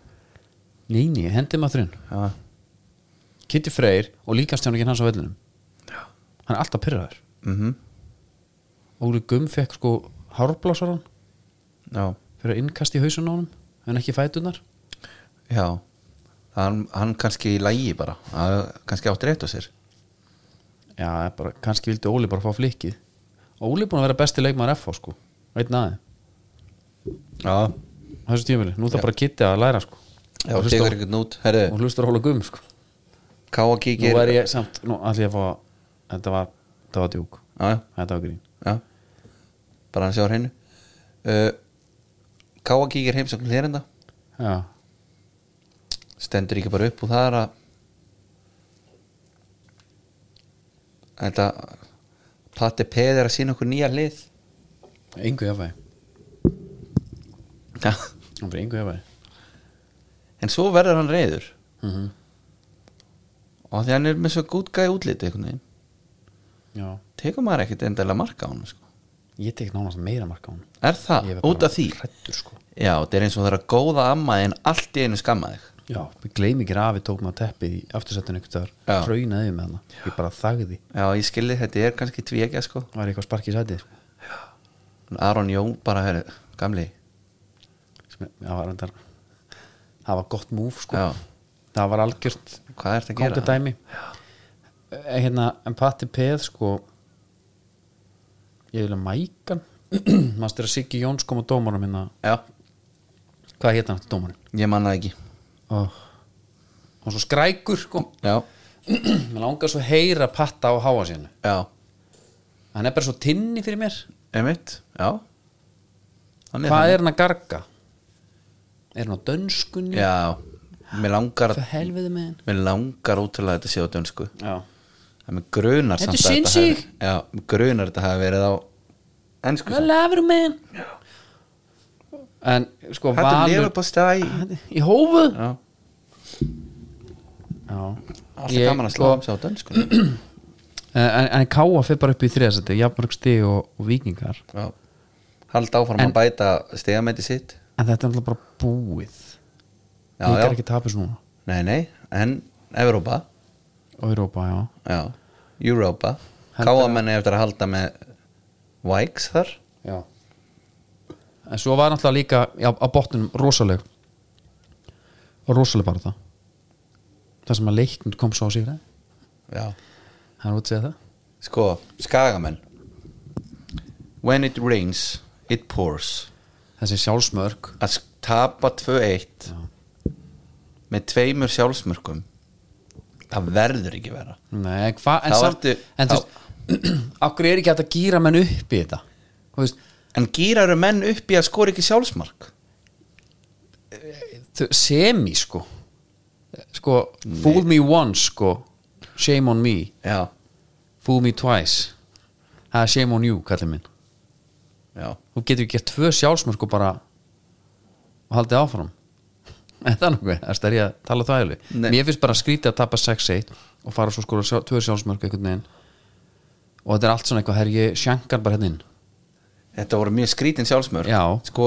S1: Nei, nei, hendið maður þrjum
S2: já,
S1: Kitty Freyr og líka stjáningin hans á vellinum hann er alltaf pyrraður
S2: mm
S1: Óli Gum fekk sko hárblásaran
S2: Já,
S1: fyrir innkast í hausun á honum en ekki fætunar
S2: já Hann, hann kannski í lægi bara hann, kannski átti rétt á sér
S1: já, það er bara, kannski vildi Óli bara fá flikið Óli er búin að vera besti leikmaður FH sko einn aðeins,
S2: Já,
S1: á þessu tímili, nú þarf bara að kitta að læra sko
S2: já
S1: og hlusta á-
S2: tegur einhvern út
S1: og
S2: Herðu,
S1: hlusta á Óla Gum sko
S2: káa
S1: nú
S2: kíkir
S1: er ég samt, nú ætlum ég að fá þetta var, þetta var djúk
S2: Já,
S1: þetta var grín
S2: já Bara hann sjá hennu uh, Káa kíkir heimsókn hlérenda
S1: já,
S2: Stendur ekki bara upp og það er að Þetta Patti Peð er að sína okkur nýja lið
S1: engu jafnvægi
S2: Já
S1: hann fyrir engu jafnvægi
S2: En svo verður hann reyður
S1: Mhm.
S2: Og því hann er með svo gút gæði útliti einhvern veginn
S1: já,
S2: Tekur maður ekkert endalega marka á hann sko.
S1: ég tek nánast meira marka á hann
S2: Er það? Ah, Út af því?
S1: hrættur sko
S2: Já, þetta er eins og það er að góða amma en allt í einu skamma þig
S1: já, við gleym ekki að afi tók maður teppið í aftursettinu einhvern
S2: Já.
S1: þar hraunaði með hana ég bara þagði
S2: Já, ég skilði þetta er kannski tvíkja sko
S1: það var eitthvað spark í sætið sko.
S2: En Aron Jón bara er gamli
S1: Sem- það var endar það var gott múf sko
S2: Já.
S1: það var algjört
S2: Hvað ertu að gera?
S1: kongudæmi Eh, hérna, en Patti Peð sko ég vil að mækan mannst er að Siggi Jóns kom á dómarum hérna
S2: Já,
S1: hvað hétt hann eftir dómarum
S2: ég manna ekki
S1: oh. hann var svo skrækur sko
S2: Já,
S1: mér langar svo heyra patta á háa sérna
S2: já,
S1: hann er bara svo tinni fyrir mér
S2: emitt Já hann
S1: hvað
S2: þannig.
S1: er hann að garga er hann á dönskunni
S2: Já, mér langar
S1: hvað helfiði með hann
S2: Mér langar útrúlega að þetta sé á dönsku
S1: já,
S2: Það með grunar
S1: Þetta
S2: samt
S1: er
S2: að þetta
S1: Sinnsig.
S2: hafi- Já, mig grunar þetta hafi verið á Ensku
S1: hvað lafur með hann en sko
S2: Þetta er
S1: valur
S2: lefur stæ
S1: í hófu
S2: Já,
S1: já
S2: alltaf gaman að
S1: sko-
S2: slá um sig á dönsku
S1: Eh, en, en Káa fyrir bara upp í þriðasæti jafnmörg stig og, og vikingar
S2: Já Hald áfram að bæta stegamæti sitt
S1: en þetta er alltaf bara búið
S2: Já,
S1: vikingar
S2: já.
S1: ekki tapis núna
S2: Nei, nei, en Evrópa
S1: og Europa, já
S2: Já, Europa
S1: Heldur að-
S2: Káamenni eftir að halda með Vikes þar
S1: Já En svo var náttúrulega líka já, á botnum rosaleg rosaleg bara það það sem að leiknir kom svo á sigra
S2: Já
S1: hann er út að segja það
S2: Sko, skagamenn When it rains, it pours
S1: þessi sjálfsmörk
S2: Að sk- tapa 2-1
S1: Já.
S2: Með tveimur sjálfsmörkum Það verður ekki vera
S1: Nei, hva, en
S2: Þá
S1: samt
S2: ertu-
S1: en þú
S2: þá-
S1: veist okkur er ekki hægt að gýra menn upp í þetta Þú veist,
S2: En gýraru menn upp í að skora ekki sjálfsmark
S1: þau- semi sko sko, fool me once sko shame on me,
S2: Já,
S1: fool me twice það er shame on you, kallið minn
S2: já
S1: þú getur ekki gert tvö sjálfsmörk og bara og haldið áfram en það er nokkuð, það er ég að tala þvægli
S2: Nei.
S1: mér finnst bara skrítið að tapa 6-1 og fara svo skora sjá, tvö sjálfsmörk einhvern veginn og þetta er allt svona eitthvað, herr ég sjankar bara hérna inn
S2: Þetta voru mjög skrítin sjálfsmörk
S1: Já.
S2: Sko,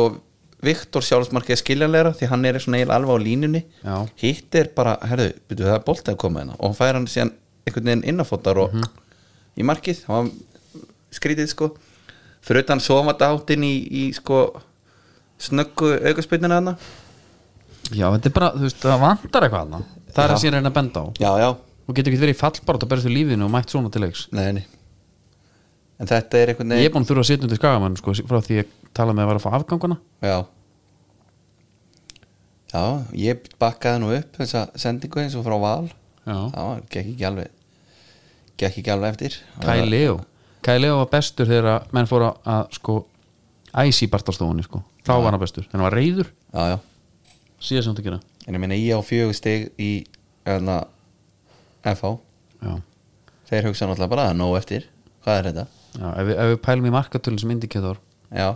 S2: Viktor sjálfsmark er skiljanlegra því hann er svona eiginlega alveg á línunni
S1: Já.
S2: Hitt er bara, herðu, byrju það er boltið að koma hérna og hann fær hann síðan einhvern veginn innafótar og í markið hann var skrítið sko fyrir utan svo hann var dátin í, í sko snöggu aukaspynnina hana
S1: já, þetta er bara, þú veist, það vantar eitthvað hana. það er
S2: Já.
S1: það sem ég reyna að benda á
S2: Já, já,
S1: þú getur ekki verið í fallbárat að berðast í lífinu og mætt svona til leiks
S2: nei, nei En þetta er einhvern veginn
S1: ég er búin að þurfa að sitja undir skagamann sko, frá því ég tala með að vera að fá afganguna
S2: Já Já, ég bakkaði nú upp þessa sendingu eins og frá Val
S1: Já.
S2: Já, gekk ekki alveg gekk ekki alveg eftir
S1: Kai Leo Kai Leo var bestur þegar að menn fóra að sko æs í bartastofunni sko þá var hann bestur, þannig hann var reyður
S2: Já, já
S1: síðan sem þetta gera
S2: En ég meina ég á fjögur stig í öðna, FH
S1: já,
S2: Þeir hugsa náttúrulega bara að nóg eftir Hvað er þetta?
S1: já ef, við, ef við pælum í markatölun sem indikator
S2: Já,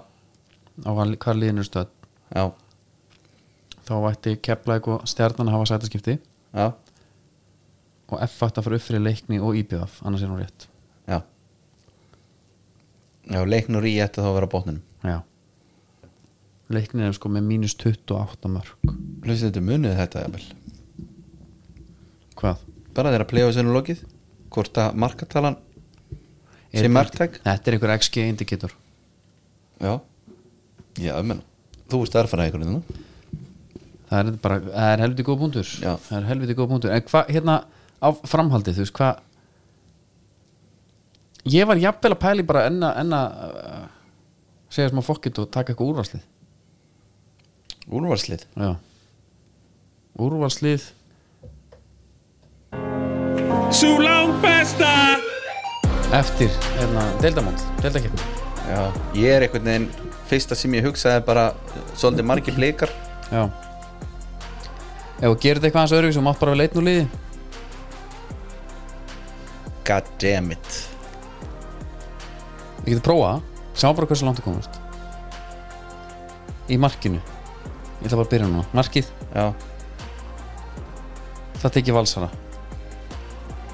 S1: á hvað hvað liðin er stöð
S2: já,
S1: þá vætti kepla eitthvað stjarnan að hafa sætaskipti
S2: já,
S1: og F ætti að fara upp fyrir leikni og IBF annars er hún rétt
S2: já Já, leiknur í ætti þá að vera á bótnunum
S1: já leikni er sko með mínus 28 mörg
S2: Hlustið þetta munið þetta, jafnvel
S1: hvað?
S2: Bara þeirra play-off sem er lokið Hvort að markatalan
S1: Er
S2: Sem
S1: þetta-
S2: marktæk?
S1: Þetta er einhver XG indikator
S2: Já, já, ég menna Þú ert hérna. erfæraðingurinn þarna
S1: Það er bara, það er helviti góð punktur
S2: Já.
S1: Það er helviti góð punktur En hvað, hérna, á framhaldið, þú veist, hvað Ég var jafnvel að pæli bara enna, enna uh, segja smá fokkitt og taka eitthvað úrvarslið
S2: Úrvarslið
S1: Já Úrvarslið
S4: Sú langt besta
S1: eftir, hérna, deildamónd Deildakeppni
S2: Já, ég er einhvern veginn Fyrsta sem ég hugsaði er bara uh, Svolítið margir blikar
S1: Já Ef þú gerir þetta eitthvað hans öðru sem mátt bara við leitn úr liði
S2: God damn it
S1: Við getum prófað það. Sjá bara hversu langt þú komast Í markinu Ég ætla bara að byrja núna Markið,
S2: Já,
S1: það tekið valsara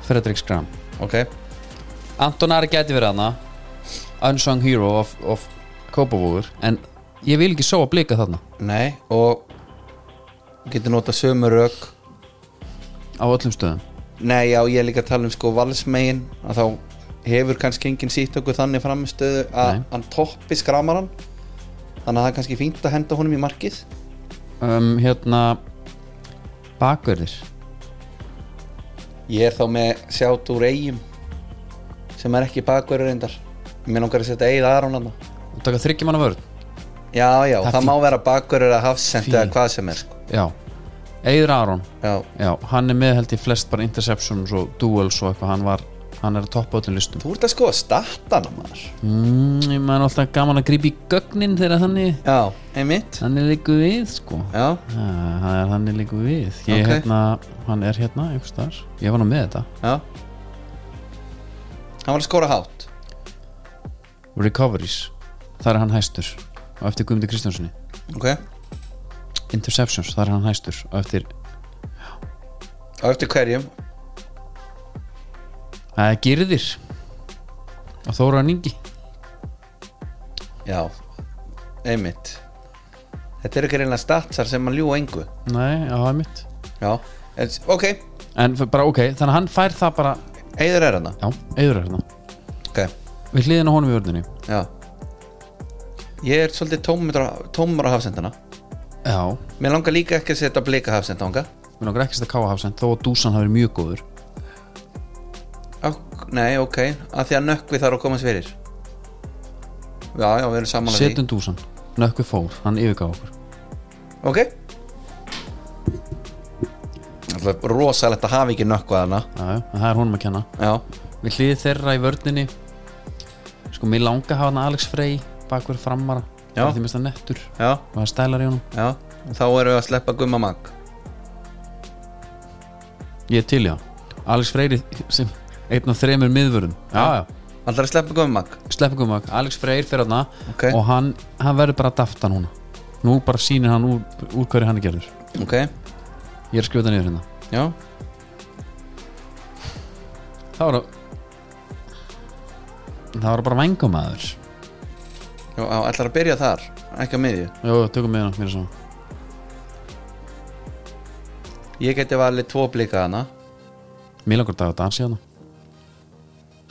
S1: Fredrik Skram
S2: ok
S1: Anton Ari gæti verið hana Unsung Hero of, of Kópavóður En ég vil ekki sóa blika þarna
S2: Nei, og Getur nota sömu rök
S1: Á öllum stöðum
S2: Nei, já, ég er líka að tala um sko valsmegin að þá hefur kannski enginn sýtt okkur þannig framistöðu að
S1: Nei.
S2: hann toppi skramaran þannig að það er kannski fínt að henda honum í markið
S1: um, Hérna Bakverðir
S2: Ég er þá með sjátt úr eigum sem er ekki bakverður reyndar Mér langar að setja eigið aðrán hann
S1: Og taka þryggjumanna vörð
S2: Já, já,
S1: Það er
S2: það, má vera bakverður að hafsend
S1: Fínt.
S2: eða hvað sem er sko.
S1: Já Eður Aron
S2: Já,
S1: Já, hann er með held ég flest bara interceptions og duels og eitthvað hann var Hann er að toppa öllum listum
S2: þú ert að skoða statana maður
S1: Mm, ég maður er alltaf gaman að grípa í gögnin þegar þannig,
S2: Já, einmitt
S1: þannig líku við sko ja.
S2: Já,
S1: það er þannig líku við ég,
S2: Ok.
S1: hérna, hann er hérna einhvers þar, ég var nú með þetta
S2: já Hann var að skora hátt
S1: recoveries, þar er hann hæstur og eftir Guðmundur Kristjánssoni
S2: Ok,
S1: interceptions, þar er hann hæstur og eftir,
S2: á eftir hverjum
S1: það er girðir og Þóra Ningi
S2: Já, einmitt Þetta eru ekki reyna statsar sem að ljúa engu
S1: nei, já, það er mitt
S2: Já, en, ok,
S1: en f- bara ok, þannig að hann fær það bara
S2: heiður er hana
S1: já, eður er hérna
S2: Ok,
S1: við hliðin á honum í vörðinni
S2: já Ég er svolítið tómur, tómur á hafsendana
S1: já,
S2: Mér langar líka ekki að setja blika hafsenda ánga
S1: við langar ekki að þetta káa hafsend þó að Dúsan hafi verið mjög góður
S2: Nei, ok, að því að nökkvi þarf að komast fyrir Já, já, við erum samanlega
S1: setjum dúsan, nökku fór hann yfirgaf okkur
S2: því Ok Alltaf rosalegt að hafa ekki nökkvað hana
S1: já, já, en það er honum að kenna
S2: Já,
S1: við hlýðið þeirra í vörninni sko, mér langa að hafa hann Alex Frey bakverð framara,
S2: Já.
S1: bara því mest að nettur
S2: já,
S1: og það stælar í honum,
S2: já Þá erum við að sleppa gumma mag
S1: ég er til já Alex Freyri sem einn af þremur miðvörðum, já, já,
S2: Alltaf að sleppa gumma mag
S1: sleppingum að Alex Freyr fyrir hann
S2: Ok.
S1: og hann, hann verður bara að dafta núna nú bara sýnir hann úr, úr hverju hann er gerður
S2: Ok,
S1: ég er að skjóta niður hérna
S2: já
S1: það var að það var bara vangumæður
S2: Já, á, ætlar að byrja þar, ekki á miðju
S1: Jó, tökum með hana, mér er saman
S2: Ég geti valið tvo blika hana
S1: Mér langar dag að dansa hérna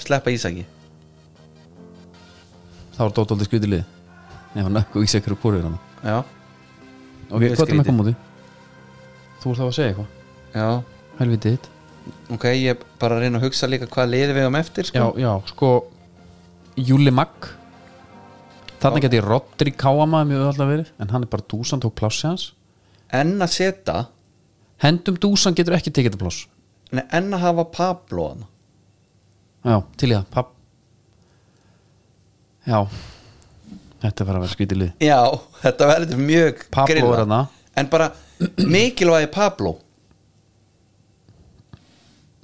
S2: Sleppa Ísaki
S1: Þá var Dótóldi skrítið lið Nei, hann ökku í sekkur og kúrið hann
S2: Já,
S1: Ok, hvað
S2: Mjög
S1: er með
S2: skrítið.
S1: koma út í? Þú ert þá að segja eitthvað
S2: já
S1: Helviti þitt
S2: Ok, ég er bara að reyna að hugsa líka hvað liði við um eftir
S1: Já,
S2: sko.
S1: já, sko Júli Magg Þarna geti Rodri Káama mjög alltaf verið En hann er bara dúsan, tók pláss í hans
S2: En að setja
S1: Hendum dúsan getur ekki tekið þetta pláss
S2: nei, En að hafa Pablo hana
S1: Já, til í það, papp Já Þetta er bara að vera skrítið lið
S2: Já, þetta verður mjög
S1: Pablo
S2: grilla.
S1: er hérna. þarna.
S2: En bara mikilvægi Pablo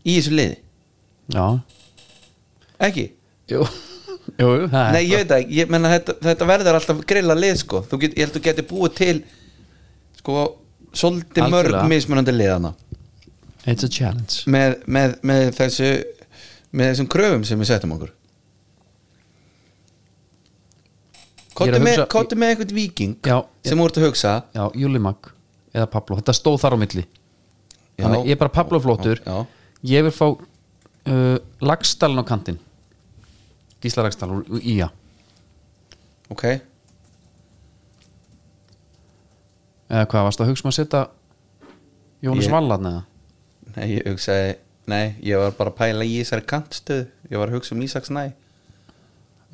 S2: Í þessu liði
S1: Já,
S2: Ekki?
S1: jú, jú það er
S2: Nei, ég veit það ekki, ég menna þetta, þetta verður alltaf grilla lið sko Þú get, Ég held þú geti búið til Sko, svolítið mörg
S1: Algjörlega.
S2: mismunandi liðana
S1: It's a challenge
S2: með, með, með þessu með þessum kröfum sem við setjum okkur
S1: Ég er
S2: Kottu
S1: að
S2: með,
S1: hugsa-
S2: kottu með einhvern viking
S1: Já, ég-
S2: sem þú ert að hugsa
S1: Já, Júli Magg eða Pablo, þetta stóð þar á milli
S2: Já.
S1: þannig ég er bara Pablo flottur
S2: Já.
S1: ég vil fá uh, Lagstallin á kantinn Gísla Rækstal úr úr Ía
S2: ok
S1: eða hvað, varst að hugsa um að setja Jónus
S2: Ég-
S1: Vallarn eða
S2: Nei, ég hugsaði Nei, ég var bara að pæla í þessari kantstöð Ég var að hugsa um Ísaks næ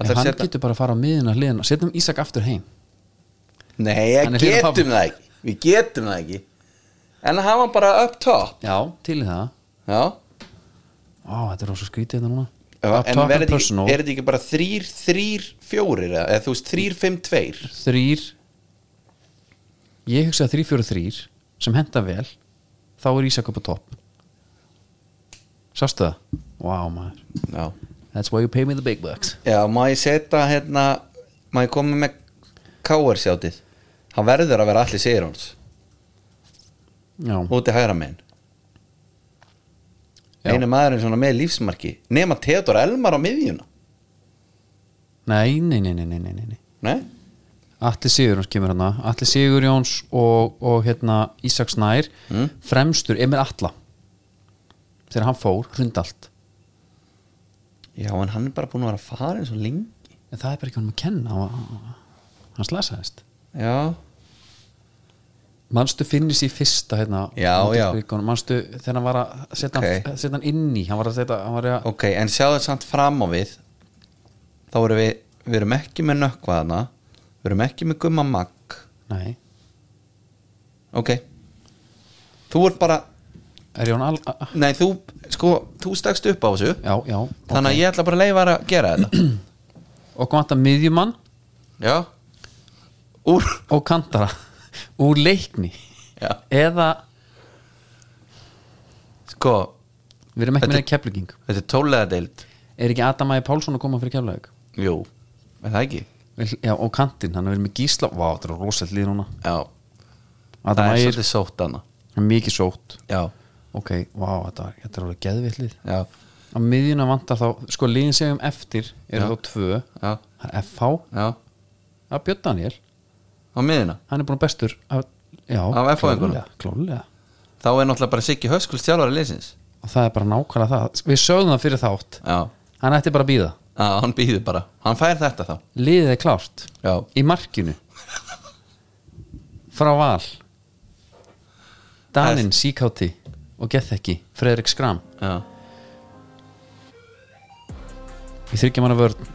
S1: Nei, hann getur bara að fara á miðina hliðina setjum Ísak aftur heim
S2: Nei,
S1: Hann
S2: ég
S1: er hérna pabbi.
S2: getum það ekki Við getum það ekki En hann var bara up top
S1: já, til í það
S2: Já
S1: Ó, þetta er rosa skrítið þetta núna
S2: Já,
S1: Up
S2: En
S1: top and
S2: verður þetta ekki-
S1: personal,
S2: er þetta ekki bara þrýr, þrýr, fjórir eða eða þú veist, þrýr, fimm, tveir
S1: þrýr ég hugsa að 3-4-3 sem henda vel þá er Ísak upp á topp sástu það? wow maður
S2: Já,
S1: that's why you pay me the big bucks
S2: Já má ég setja hérna má ég koma með káar sjátið hann verður að vera allir sigurhóns
S1: já,
S2: úti hægra megin
S1: Já.
S2: einu maðurinn svona með lífsmarki nema Theodor Elmar á miðjuna
S1: nei, nei, nei, nei, nei, nei, nei.
S2: Nei?
S1: Atli Sigurjóns kemur hérna Atli Sigurjóns og, og hérna Ísak Snær fremstur Emil Atla þegar hann fór, hrund allt
S2: Já, en hann er bara búin að vera farin svo lengi
S1: en það er bara ekki honum að kenna hann var- hann slasaðist
S2: Já, Manstu
S1: finnist í fyrsta hérna á
S2: Já,
S1: móti
S2: já.
S1: Blikunum. manstu þegar hann var að setja
S2: Ok.
S1: hann, setja hann inn í hann var að setja hann var að
S2: Ok, en sjáðu samt fram á við þá erum við við erum ekki með nökkvaðana við erum ekki með gumma magg
S1: nei
S2: Ok Þú ert bara,
S1: er Jón Al a- a-
S2: nei þú sko, þú stakst upp á þessu
S1: já já
S2: þannig að ég ætla bara að leifa þér að gera þetta
S1: og kom að miðjumann
S2: Já Úr
S1: og kantara úr leikni
S2: Já.
S1: eða
S2: Sko,
S1: við erum ekki
S2: Þetta-
S1: með kefluging
S2: þetta er tólega deild
S1: er ekki Adam Ægir Pálsson að koma fyrir keflaug
S2: Jú, er það ekki?
S1: já og kantinn hann er verið með gísla vá þetta er rosalegt lið núna
S2: Já, það
S1: Adam
S2: er
S1: Ægir
S2: svolítið sótt hana
S1: er mikið sótt
S2: Já,
S1: ok vá þetta, er- þetta er alveg geðvitt lið
S2: já,
S1: á miðjuna vantar þá sko liðin segjum eftir
S2: Já.
S1: eru þá tvö
S2: já,
S1: það er FH
S2: já
S1: Það er Björn Daniel,
S2: Á miðina,
S1: hann er búin bestur af, já,
S2: Af FH-ingunum?
S1: klárlega, klárlega.
S2: þá er náttúrulega bara Siggi Höskuls þjálfari liðsins
S1: og það er bara nákvæmlega það við sögum það fyrir þátt,
S2: Já,
S1: hann ætti bara að býða
S2: já hann býður bara, hann fær þetta þá
S1: liðið er klárt,
S2: Já,
S1: í markinu frá val Daninn, Síkáti og Gethekki, Fredrik Skram
S2: já,
S1: í þryggjamanna vörn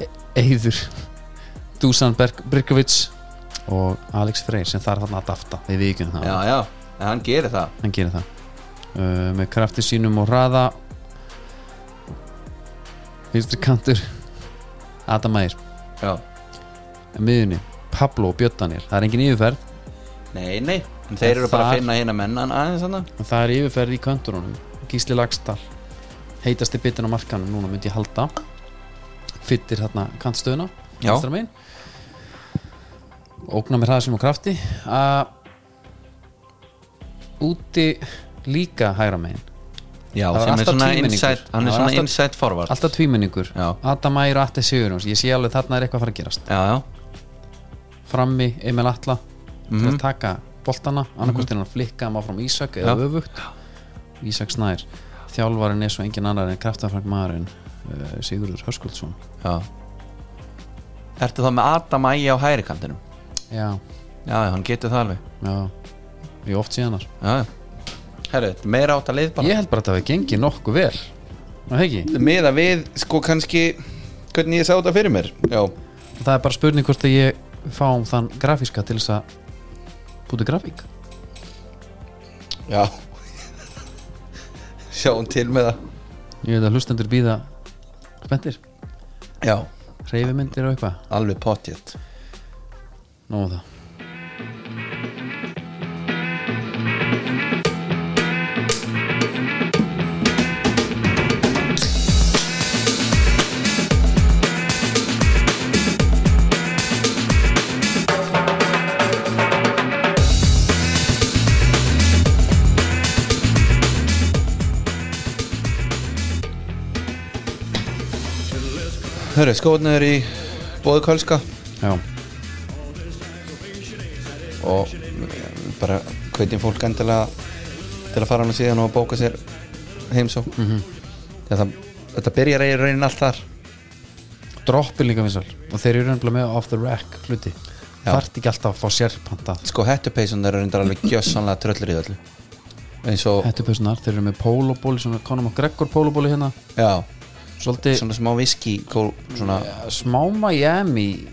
S1: E- Eiður Dusan Berg Bryggovits og Alex Freyr sem þarf þarna að dafta við vikjum það
S2: já, já En hann gerir það
S1: hann gerir það uh, með krafti sínum og hraða vinstri kantur Adam Ægir
S2: Já,
S1: miðunni, Pablo og Björn Daniel það er engin yfirferð,
S2: nei, nei, en þeir
S1: En
S2: eru bara
S1: þar-
S2: að finna hérna mennan aðeins hann
S1: en það er yfirferð í kanturunum Gísli Lagstall heitasti bitin á markanum, núna myndi ég halda fyttir hérna kantstöðuna
S2: Já.
S1: vinstra megin. ógnar með hraða sínum og krafti að úti líka hægra megin
S2: Já,
S1: Það var
S2: sem er
S1: alltaf
S2: svona
S1: tvímenningur.
S2: inside, hann
S1: Það
S2: er
S1: var
S2: svona
S1: alltaf-
S2: inside forward
S1: alltaf tvímenningur
S2: Já.
S1: Adam Ægir og Atte Sigurjóns ég sé alveg þarna er eitthvað að fara að gerast
S2: Já, já,
S1: frammi Emil Atla
S2: Mhm.
S1: til að taka boltana annarkostin hann að flikka hann áfram Ísak eða
S2: Já.
S1: öfugt Ísak Snær þjálfarin er svo engin annar en kraftanfrang maðurinn uh, Sigurður Höskuldsson
S2: já Ertu þá með Adam Ægi á hægri kantinum?
S1: já,
S2: Já, já, hann getur það alveg
S1: já ég oft síðanar
S2: Já, já Herru, þetta er meira átt að lið bara
S1: ég held bara að það hefði gengið nokkuð vel Var það ekki?
S2: Meða við, sko, kannski hvernig ég sá þetta fyrir mér Já,
S1: það er bara spurning hvort að ég fáum þann grafíska til þess að búti grafík
S2: já Sjáum til með það
S1: ég veit að hlustendur býða spenntir,
S2: Já,
S1: reyfimyndir og eitthvað
S2: alveg potjett
S1: Nóðum það
S2: Herru, skóðnir í bóðu kölska
S1: Já,
S2: og eh, bara hvetjum fólk Mhm. endilega til að fara hann síðan og bóka sér heimsó mm -hmm. það þetta byrjar í raunin allt þar
S1: droppin líka vinsal og þeir eru nefnilega með off the rack hluti
S2: Já.
S1: þart ekki alltaf að fá sérpanta
S2: sko hettupeysun eru reyndar alveg gjössanlega tröllur í öllu eins og,
S1: hættupössunar, þeir eru með pólobóli svona Conor McGregor pólobóli hérna
S2: já
S1: svolítið
S2: svona smá viski kól, svona,
S1: eh, smá Miami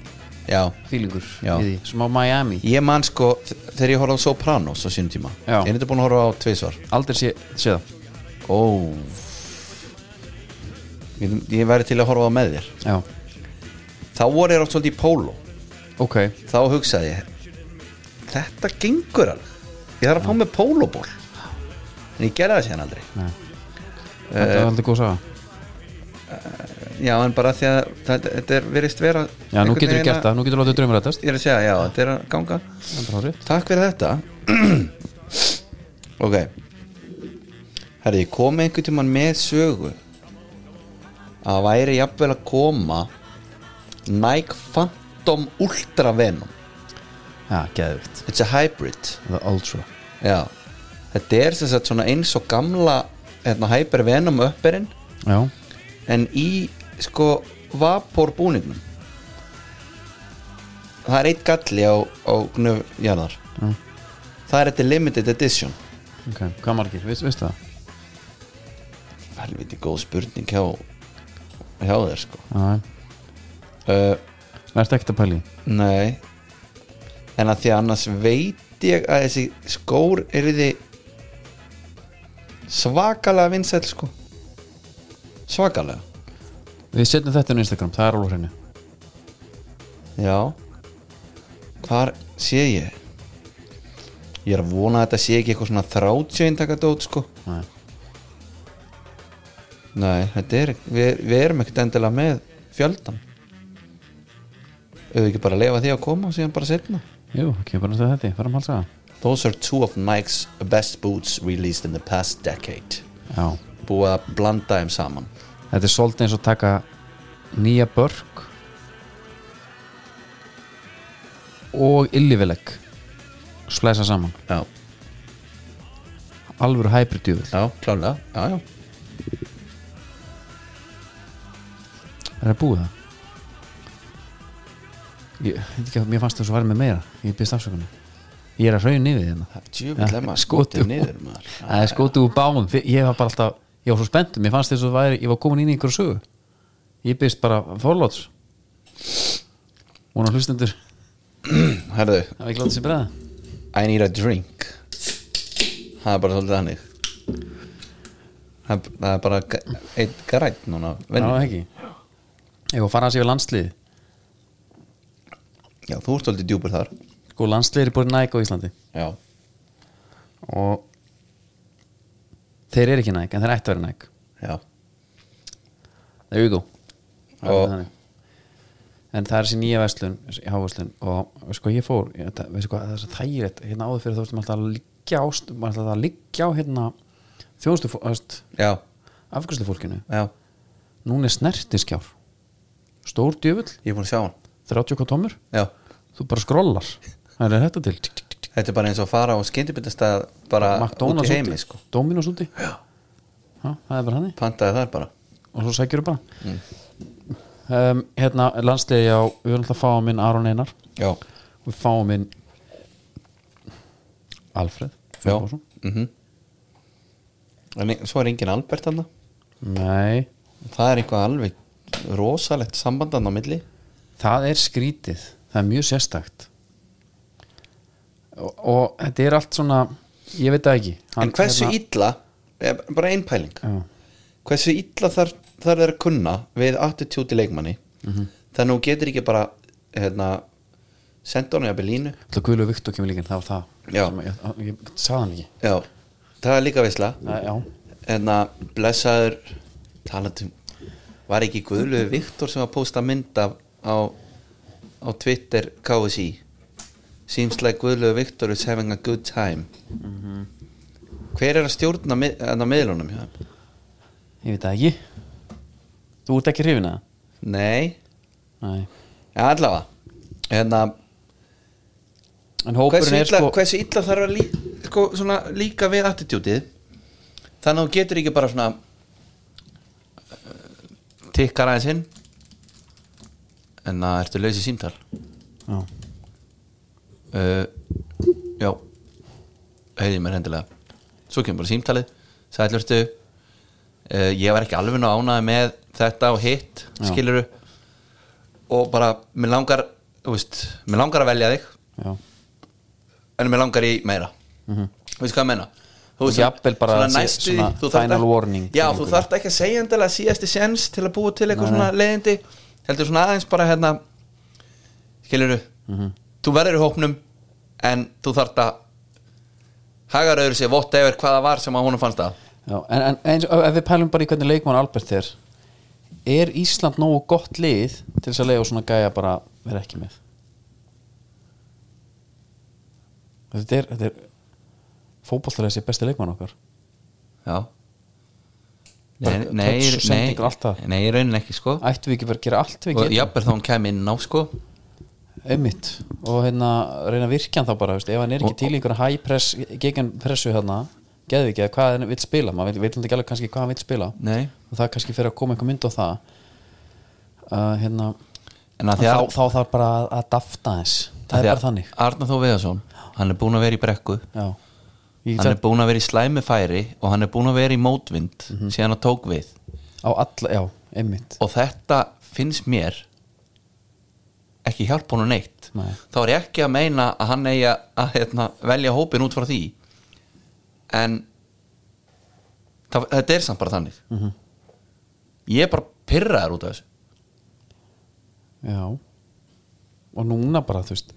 S2: já
S1: feelingur
S2: Já.
S1: í því, smá Miami
S2: ég man sko, þ- þegar ég horfði á Sopranos á sínum tíma,
S1: Já.
S2: ég er þetta búin að horfa á tvisvar
S1: aldrei sé, sé það
S2: ó ég, ég væri til að horfa á með þér
S1: já,
S2: þá voru ég rátt svolítið í pólo
S1: ok,
S2: þá hugsaði ég þetta gengur alveg ég þarf að fá með póloból en ég gerði það síðan aldrei Eh,
S1: þetta er aldrei góð saga
S2: já en bara því að það- þetta er verist vera
S1: já, nú
S2: einhvern
S1: getur þú
S2: veginn
S1: gert það, nú getur þú látið draumur
S2: að- ég er að segja já þetta er að ganga
S1: þetta
S2: takk fyrir þetta ok herri ég kom einhvern tímann með sögu að það væri jafnvel að koma Nike Phantom Ultra Venom
S1: já, geðvikt,
S2: it's a hybrid
S1: the ultra
S2: Já, þetta er sem sagt svona eins og gamla hérna, Hyper Venom upperinn
S1: já,
S2: en í sko vapor búningnum það er eitt galli á, á gnöfjarðar
S1: Já.
S2: það er þetta limited edition
S1: ok, hvað margir, veist, veistu það
S2: helviti góð spurning hjá hjá þér sko
S1: já,
S2: uh,
S1: það ert ekkert að pæli
S2: nei en að því að annars veit ég að þessi skór er þið svakalega vinsæl sko svakalega
S1: við setjum þetta inn á Instagram, það er alveg á hreinu
S2: Já Hvar sé ég? Ég er að vona að þetta sé ekki eitthvað svona 30 eintaka dót sko
S1: Nei.
S2: Nei, þetta er við, við erum ekkert endilega með fjöldan Auðvitað ekki bara að leifa því að koma og síðan bara setna
S1: jú, ekki bara næstu þetta, um farum halsaða
S2: Those are two of Nike's best boots released in the past decade
S1: já,
S2: Búið að blanda þeim saman
S1: þetta er svolítið eins og taka nýja börk og illivileg splæsa saman
S2: Já,
S1: alvöru hybridjúvel
S2: já, klálega Já, já
S1: er það búið það? Ég, ég veit ekki, að- mér fannst það svo varð með meira ég byrst afsökunum ég er að hraun yfir hérna
S2: Ah, Djöfull er
S1: Skotum.
S2: maður skotið Ah, niður maður
S1: það er skótið úr báum Þi- ég var bara alltaf, ég var svo spenntur mér fannst þess að væri, ég var komin inn í einhverju sögu ég byrst bara forlóts hún á hlustendur
S2: Herðu,
S1: hafa ekki látið sér breða
S2: I need a drink Það er bara svolítið þannig Það er- það er bara g- einn grætt núna
S1: Já,
S2: venjulega.
S1: ekki Ég var að fara að séu landslið
S2: Já, þú ert svolítið djúpur þar
S1: Sko, landslið er búin næk á Íslandi
S2: Já,
S1: Og Þeir eru ekki næk, en þeir ættu að vera næk
S2: já,
S1: Þeir eru
S2: Og-
S1: þú En það er þessi nýja verslun þessi Háverslun Og sko, ég fór ég, það, veistu hvað, það er svo þægilegt Hérna áður fyrir þá sem alltaf að liggja á st- maður alltaf að liggja á hérna Þjóðstu
S2: já,
S1: afgjörslu fólkinu
S2: já
S1: Núna er snertiskjár Stór djöfull,
S2: Ég er búin að sjá hann
S1: 30 hvað tómur
S2: Já,
S1: Þú bara skrollar Það er þetta til tík, tík, tík.
S2: þetta er bara eins og að fara á skyndibitastað bara út
S1: McDonalds
S2: í
S1: úti,
S2: heimi sko
S1: Dominos úti Já, það er bara hannig
S2: Pantaði þar bara
S1: og svo sækjur bara
S2: Mm.
S1: um, Hérna, landsliði á við erum alltaf að fáum inn Aron Einar
S2: Já,
S1: og við fáum inn Alfred
S2: já
S1: Finnbogason.
S2: mm En ein- svo er engin Albert hann
S1: Nei,
S2: Það er eitthvað alveg rosalegt samband hann á milli
S1: það er skrítið það er mjög sérstakt og, og þetta er allt svona ég veit það ekki
S2: En hversu
S1: hérna-
S2: illa, eh, bara ein pæling
S1: Já,
S2: hversu illa þar, þar er að kunna við attitude í leikmanni þannig að hún getur ekki bara hérna, senda honum í Abelínu
S1: Það guðlu Viktor kemur líka, það var það
S2: Já.
S1: Sem Ég, ég, ég sagði hann ekki
S2: já, það er líka veisla
S1: Æ, Já,
S2: hérna, blessaður talandum, var ekki Guðlöfi Viktor sem að posta mynd af á, á Twitter KSI seems like Guðlöfi Viktor is having a good time hver er að stjórna mið- hérna, miðlunum hjá þeim?
S1: ég veit það ekki Þú ert ekki hrifin að
S2: nei,
S1: Nei
S2: ja, allavega hérna
S1: En hópurinn
S2: hversu
S1: er
S2: illa,
S1: sko
S2: hversu illa þarf að lí, sko, svona, líka við attitútið þannig að þú getur ekki bara svona uh, tikkar aðeins inn en það ertu laus í símtal
S1: Já.
S2: uh, já heiði mér hendilega svo kemur bara símtalið sætlurstu uh, ég var ekki alveg ná ánaði með þetta og hitt
S1: Já.
S2: skiluru og bara, mér langar þú veist, mér langar að velja þig
S1: Já.
S2: en mér langar í meira veistu hvað ég meina þú
S1: Mhm. Og jafnvel bara
S2: svona
S1: að sé
S2: næstu því,
S1: svona
S2: þú þarft
S1: final
S2: ekki-
S1: warning
S2: já,
S1: til
S2: þú
S1: einhverju.
S2: þarft ekki að segja endilega síðasti séns til að búa til eitthvað
S1: Nei,
S2: svona leiðindi heldur svona aðeins bara hérna skilurðu
S1: Mhm.
S2: þú verður í hópnum en þú þarft að hagar öðru sér vott yfir hvaða var sem að honum fannst að
S1: Já, en, en eins, ef við pælum bara í hvernig leikmann Albert er er Ísland nógu gott lið til þess að leiða svona gæja bara vera ekki með þetta er, þetta er fótbollar þessi besti leikmann okkar
S2: já
S1: Bara
S2: nei,
S1: touch,
S2: nei, nei,
S1: sendingar, allt það.
S2: nei, í rauninni ekki sko
S1: ættum við ekki bara að gera allt við
S2: og
S1: getum
S2: jafnvel þá hún kem inn á sko
S1: einmitt og hérna reyna að virkja hann þá bara veist, ef hann er ekki
S2: Og-
S1: til í einhverja high press gegn pressu hérna, geðu ekki að hvað hann vil spila maður veit hann ekki alveg kannski hvað hann vil spila
S2: nei
S1: og það kannski fyrir að koma einhver mynd á það uh, hérna
S2: en að því að
S1: þá, þá þarf bara að- að dafta þess það er bara þannig
S2: Arnar Þó Veðarsson, hann er búin að vera í brekku
S1: já. Ég
S2: hann er
S1: þarf
S2: búin að vera í slæmi færi og hann er búin að vera í mótvind
S1: Mhm.
S2: síðan hann tók við
S1: á alla, já, einmitt
S2: og þetta finnst mér ekki hjálp honum neitt
S1: Nei.
S2: þá er ég ekki að meina að hann eigi að hérna, velja hópin út frá því en það, þetta er samt bara þannig
S1: Mhm.
S2: ég er bara pyrraður út af þessu
S1: já. og núna bara, þú veist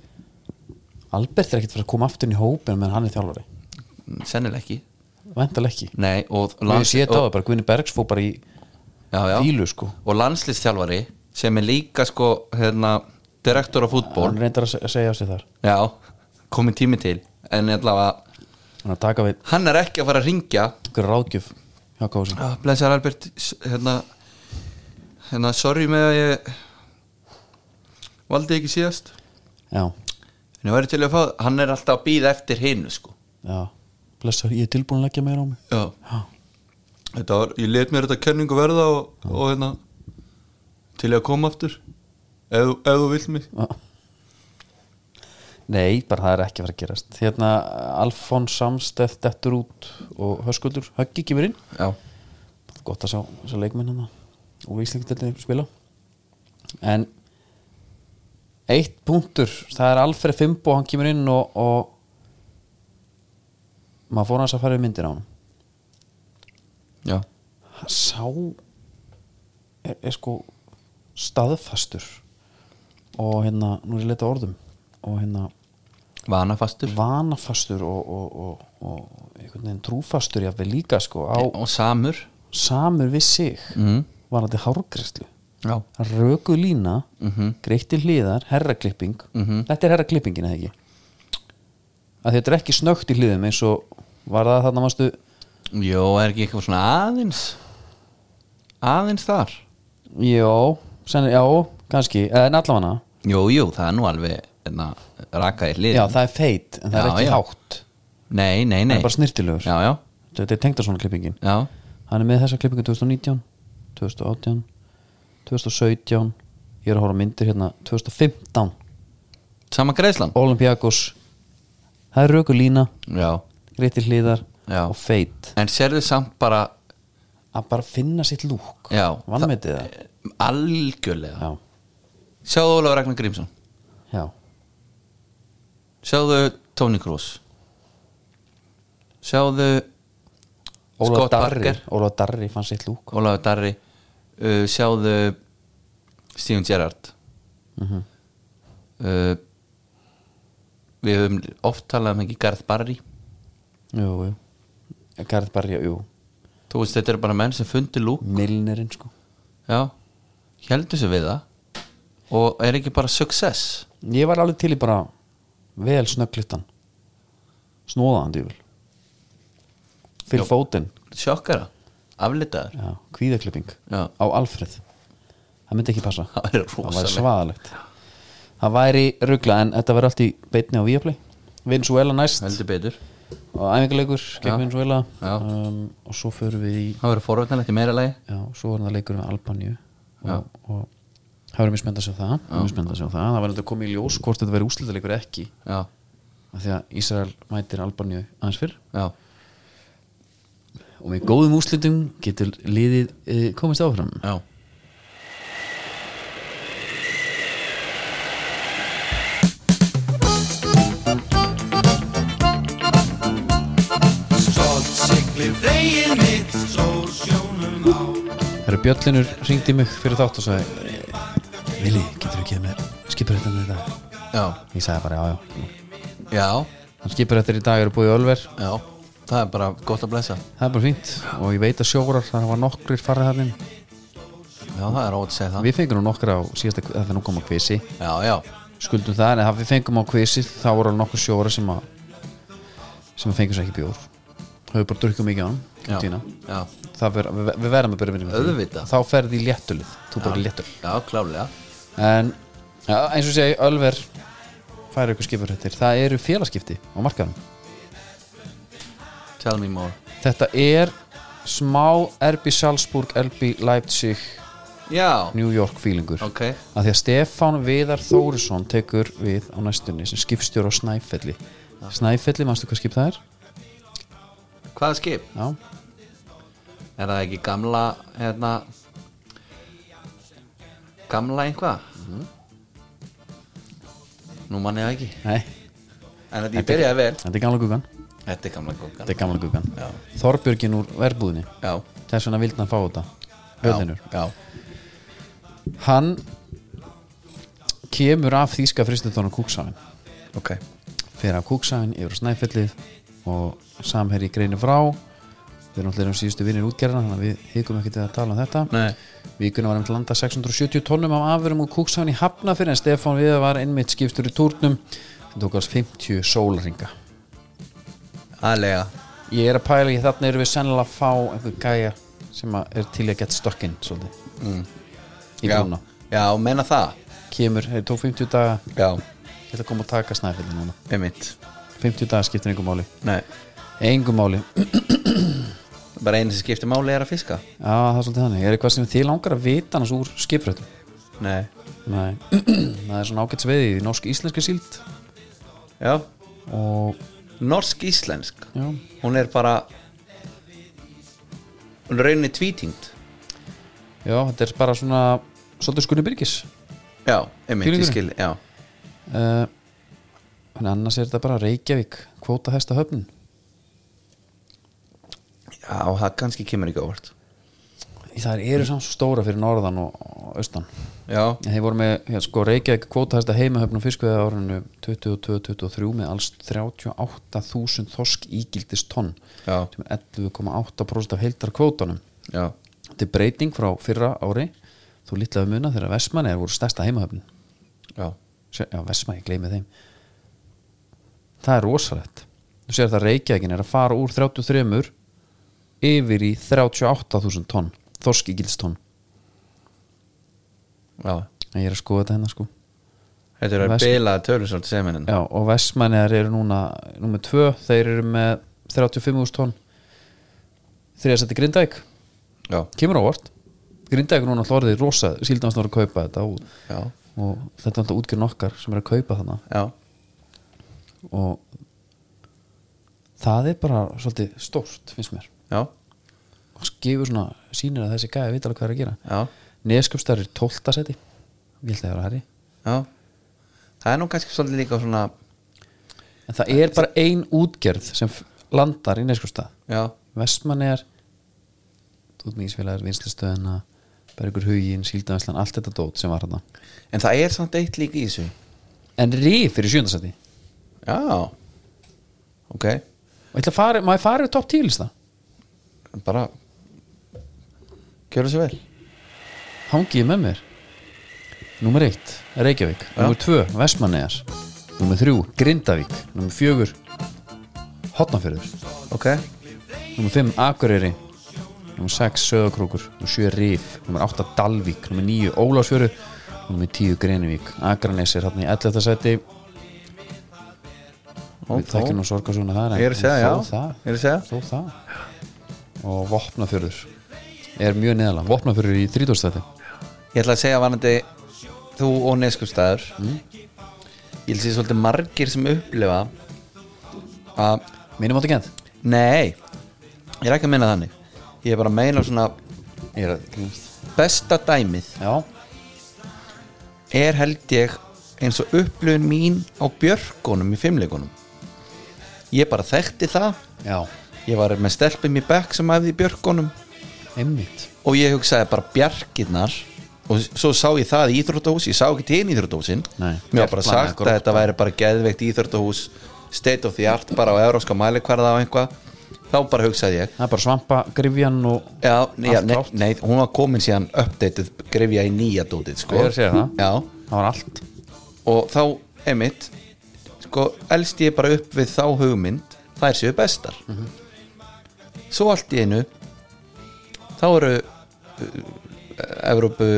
S1: Albert er ekkert fyrir að koma aftur inn í hópin menn hann er þjálfari,
S2: sennilega ekki
S1: væntal ekki
S2: Nei, og,
S1: Lans, ég sé þetta á
S2: og,
S1: það bara, Guðni Bergs fór bara í
S2: já, já.
S1: fílu sko
S2: og landslistjálfari sem er líka sko hérna, direktor af fútból
S1: hann reyndar að se- að segja á sig þar
S2: Já, komin tími til En allavega,
S1: hann er að taka við
S2: hann er ekki að fara að ringja
S1: einhverja ráðgjöf hjá Kási
S2: ah, Blessar Albert s- hérna, hérna, sorry með að ég Valdi ekki síðast
S1: já,
S2: En ég væri til að fá, hann er alltaf að býða eftir hinu sko
S1: já, blessar, ég er tilbúin að leggja meira á mig
S2: Já,
S1: já,
S2: þetta var, ég let mér þetta kenningu verða og, og hérna Til ég að koma aftur Ef, þú- ef þú vilt mig
S1: Já. Nei, bara það er ekki að fara að gerast Hérna, Alfons Samsteð dettur út og Höskuldur Höggi kemur inn,
S2: Já,
S1: gott að sjá þessar leikmenn hérna hann og Íslingadeldin spila en eitt punktur, það er Alfred Fimbo, hann kemur inn og, og maður fór hans að fara við myndir á hann
S2: já,
S1: sá er, er sko staðfastur og hérna, nú er ég leitað orðum og hérna
S2: vanafastur
S1: vanafastur og, og, og, og einhvern veginn trúfastur jafnvel líka sko á
S2: Og samur
S1: samur við sig
S2: mm.
S1: var þetta hárgræslu
S2: Já,
S1: röku lína, greitti hliðar herraklipping,
S2: Mhm.
S1: þetta er herraklippingin eða ekki að þetta er ekki snögt í hliðum eins og var það þarna varstu
S2: jó, er ekki eitthvað svona aðeins Aðeins þar
S1: já, sen, já, kannski en allavega
S2: Jú, jú, það er nú alveg enna, raka í hlið
S1: Já, það er feit, en það er
S2: Já,
S1: ekki
S2: já.
S1: hátt
S2: Nei, nei,
S1: Það
S2: nei
S1: er bara snirtilegur
S2: Já, já,
S1: Þetta er tengda svona klippingin
S2: já,
S1: Hann er með þessa klippingu 2019 2018 2017 Ég er að horfa á myndir hérna 2015
S2: sama greiðslan
S1: Olympiakos Það er röku lína,
S2: Já,
S1: rétti hliðar
S2: Já.
S1: og feit
S2: en sérðu samt bara
S1: Að bara finna sitt lúk
S2: Já,
S1: Vannmetið það
S2: eh, Algjörlega
S1: Já,
S2: Sjáðu Ólaf Ragnar Grímsson
S1: já,
S2: Sjáðu Tony Kroos Sjáðu
S1: Ólaf
S2: Scott
S1: Darri
S2: Parker.
S1: Ólaf Darri fann sitt lúk
S2: Ólafur Darri uh, Sjáðu Steven Gerrard uh, Við höfum oft talað um ekki Garð Barri
S1: Jú, jú Garð Barri, jú
S2: Þú veist, þetta er bara menn sem fundi lúk
S1: Milnerinn sko
S2: Já, heldur sér við það og er ekki bara success
S1: Ég var alveg til í bara vel snögglittan snóðan djúvel fyrir fótinn
S2: sjokkara, aflitaður
S1: já, kvíðaklipping
S2: Já.
S1: á Alfred það myndi ekki passa
S2: Það
S1: það
S2: væri
S1: væri
S2: rosalegt.
S1: svaðalegt það væri ruggla en þetta verður allt í beitni á Viaplay Venezuela næst
S2: heldur betur,
S1: og æfingarleikur
S2: Já.
S1: gegn Venezuela
S2: Já.
S1: um, og svo förum við í
S2: það verður forvöldnilegt í meira lagi
S1: já, svo er það leikur með Albaníu og, og það verður mjög spennt að sjá það mjög spennt að sjá það, það verður aldrei komið í ljós hvort þetta verður úslitaleikur eða ekki
S2: já,
S1: af því að Ísrael mætir Albaníu aðeins fyrr
S2: já,
S1: og með góðum úslitum getur liðið eh, komist áfram
S2: já
S1: Það eru Bjöllinur ringdi mig fyrir þátt og sagði Vili, getur þú ekki með skipur þetta með þetta?
S2: já,
S1: Ég sagði bara, já, já
S2: já,
S1: Hann skipur þetta í dag eru búið í Ölver
S2: já það er bara gott að blessa
S1: Það er bara fínt og ég veit að sjórar það var nokkrir farið þarinn
S2: já, það er ótt að segja það
S1: Við fengum nú nokkra á síðasta þetta er nú kom á kvisi
S2: já, já,
S1: skuldum það en það við fengum á kvisi þá voru alveg nokkur sjórar sem að sem að fengum sér ekki bjór höfðu bara drukkið mikið á
S2: já,
S1: hann tína.
S2: já,
S1: Það ver, við, við verðum að byrja vinni með
S2: Auðvitað.
S1: því þá ferði í léttulið þú bara í léttul
S2: já, klálega
S1: en ja, eins og segi Ölver færa ykkur skipurhættir það eru félagskipti á markaðum
S2: tell me more
S1: þetta er smá RB Salzburg, RB Leipzig
S2: já,
S1: New York feelingur
S2: ok,
S1: að því að Stefán Viðar Þórisson tekur við á næstunni sem skipstjóra á Snæfelli Snæfelli, manstu hvað skip það er?
S2: hvaða skip
S1: Já,
S2: er það ekki gamla, hérna gamla einhvað Mhm. nú mann ég það ekki
S1: nei,
S2: en þetta ég byrjaði vel
S1: þetta er gamla gugan
S2: þetta er gamla gókan
S1: þetta er gamla gugan
S2: Já.
S1: Þorbjörgin úr verbúðinni
S2: já,
S1: þess vegna vildi hann fá þetta
S2: já,
S1: Björninur
S2: já,
S1: Hann kemur af þýska fristundanum kúksáin
S2: ok
S1: fer af kúksæðin yfir á snæfellið og samherri greinu frá við náttúrulega erum um síðustu vinnir útgerðina þannig að við hygum ekkert við að tala um þetta
S2: Nei.
S1: Víkunum var einmitt landa 670 tónnum af afverjum úr kúksæðin í hafna fyrir en Stefán við var einmitt skiptur í tórnum sem tók alls 50 sólringa
S2: aðlega,
S1: ég er að pæla í þarna erum við sennilega að fá einhver gæja sem að er til í að geta stökkinn svolítið mm. í
S2: já,
S1: brúna
S2: já, menna það
S1: kemur, hey, tók 50 daga
S2: já,
S1: ég ætla að koma og taka snæfellið núna
S2: einmitt
S1: 50 daga skiptir engum máli
S2: Nei.
S1: engum máli
S2: bara einu sem skiptir máli er að fiska
S1: Já, það er svolítið þannig. Er eitthvað sem þið langar að vita annars úr skipfröttum?
S2: nei,
S1: Nei. það er svona ágætt sveiði í norsk-íslenski síld
S2: já,
S1: og
S2: norsk-íslensk
S1: já,
S2: hún er bara hún er rauninni tvítingt
S1: já, þetta er bara svona svolítið skunni byrgis.
S2: já, einmitt, ég
S1: Fílingurinn?
S2: skil já,
S1: Uh, en annars er þetta bara Reykjavík, kvóta hesta höfnin.
S2: já, það kannski kemur ekki ávart
S1: Það eru samt svo stóra fyrir norðan og, og austan.
S2: já,
S1: En Þeir voru með, já, sko, Reykjavík kvóta hesta heimahöfn og fiskveða árinu 22-23 með alls 38.000 þorsk ígildist tonn
S2: já,
S1: sem er 11,8% af heildar kvótanum.
S2: já
S1: Þetta er breyting frá fyrra ári þú litlaðu muna þegar Vestmanni voru stærsta heimahöfn
S2: já,
S1: Já, Vestmanni, ég gleymi þeim Það er rosalegt Þú sér það að Reykjavíkin er að fara úr 33 yfir í 38.000 tonn Þorski gildstón
S2: já
S1: Ég er að skoða þetta hennar sko
S2: þetta er að
S1: Vest-
S2: bila tölur svolítið sem hérna. hennan
S1: Já, og Vestmanniðar eru núna nummer 2, þeir eru með 35.000 tonn Þriðasetti Grindavík,
S2: já,
S1: kemur á vort Grindavík er núna alltaf orðið rosa síldanast voru að kaupa þetta og,
S2: já,
S1: og þetta er alltaf útgjörn okkar sem er að kaupa þannig
S2: já,
S1: og það er bara svolítið stórt finnst mér
S2: já,
S1: og skifur svona sýnir að þessi gæði vita alveg hvað er að gera
S2: já,
S1: Neskjöpstar er 12. seti ég held að það er að herri
S2: já. það er nú kannski svolítið líka svona
S1: en það er bara ein útgerð sem f- landar í Neskjöpstað
S2: já,
S1: Vestmannegar útmýgisfélagar, vinslistöðina Bergur Hugin, Síldavæslan, allt þetta dót sem var hérna
S2: en það er samt eitt líka í þessu
S1: en Rif er í 7. seti
S2: já, ok
S1: og ég ætla að fara, maður farið topp 10 lista
S2: bara gjöra svo vel
S1: hangið með mér Númer 1, Reykjavík Númer 2, Vestmannegar Númer 3, Grindavík Númer 4, Hotnafjörður
S2: ok,
S1: Númer 5, Akureyri Númer 6, Söðakrókur Númer 7, Rif Númer 8, Dalvík Númer 9, Ólásfjörður Númer 10, Grenivík Akranes er hann í 11. sæti
S2: Ó,
S1: Við þekkjum
S2: þó.
S1: nú sorga svona það
S2: Ég er að segja, já. Ég er að segja.
S1: Þó það Og Vopnafjörður Er mjög neðalega Vopnafjörður í 30. sæti
S2: Ég ætla að segja varandi þú og neskustæður Ég ætla að segja svolítið margir sem upplifa að
S1: Mínum átt ekki að
S2: Nei, ég er ekki að meina þannig Ég er bara að meina svona
S1: Ég er að grínast
S2: besta dæmið
S1: Já,
S2: er held ég eins og upplifun mín á björkunum í fimmleikunum Ég bara þekkti það
S1: já,
S2: Ég var með stelpum í bekk sem æfði í björkunum
S1: einmitt
S2: og ég hugsaði bara bjarkinnar og svo sá ég það í Íþróttahús ég sá ekki til Íþróttahúsin
S1: Nei.
S2: mér var bara
S1: Gerplan
S2: sagt
S1: eða
S2: að þetta væri bara geðveikt Íþróttahús state of the art bara á euróska mælikvarða á einhvað þá bara hugsaði ég
S1: Það er bara svampa, grifjan og
S2: já, nei, já,
S1: Allt
S2: nei,
S1: klárt.
S2: nei, hún var komin síðan uppdatið grefja í nýja dótið sko.
S1: Ég er að segja það.
S2: já,
S1: það var allt
S2: og þá emitt sko, elst ég bara upp við þá hugmynd þær séu bestar svo allt í einu þá eru uh, Evrópu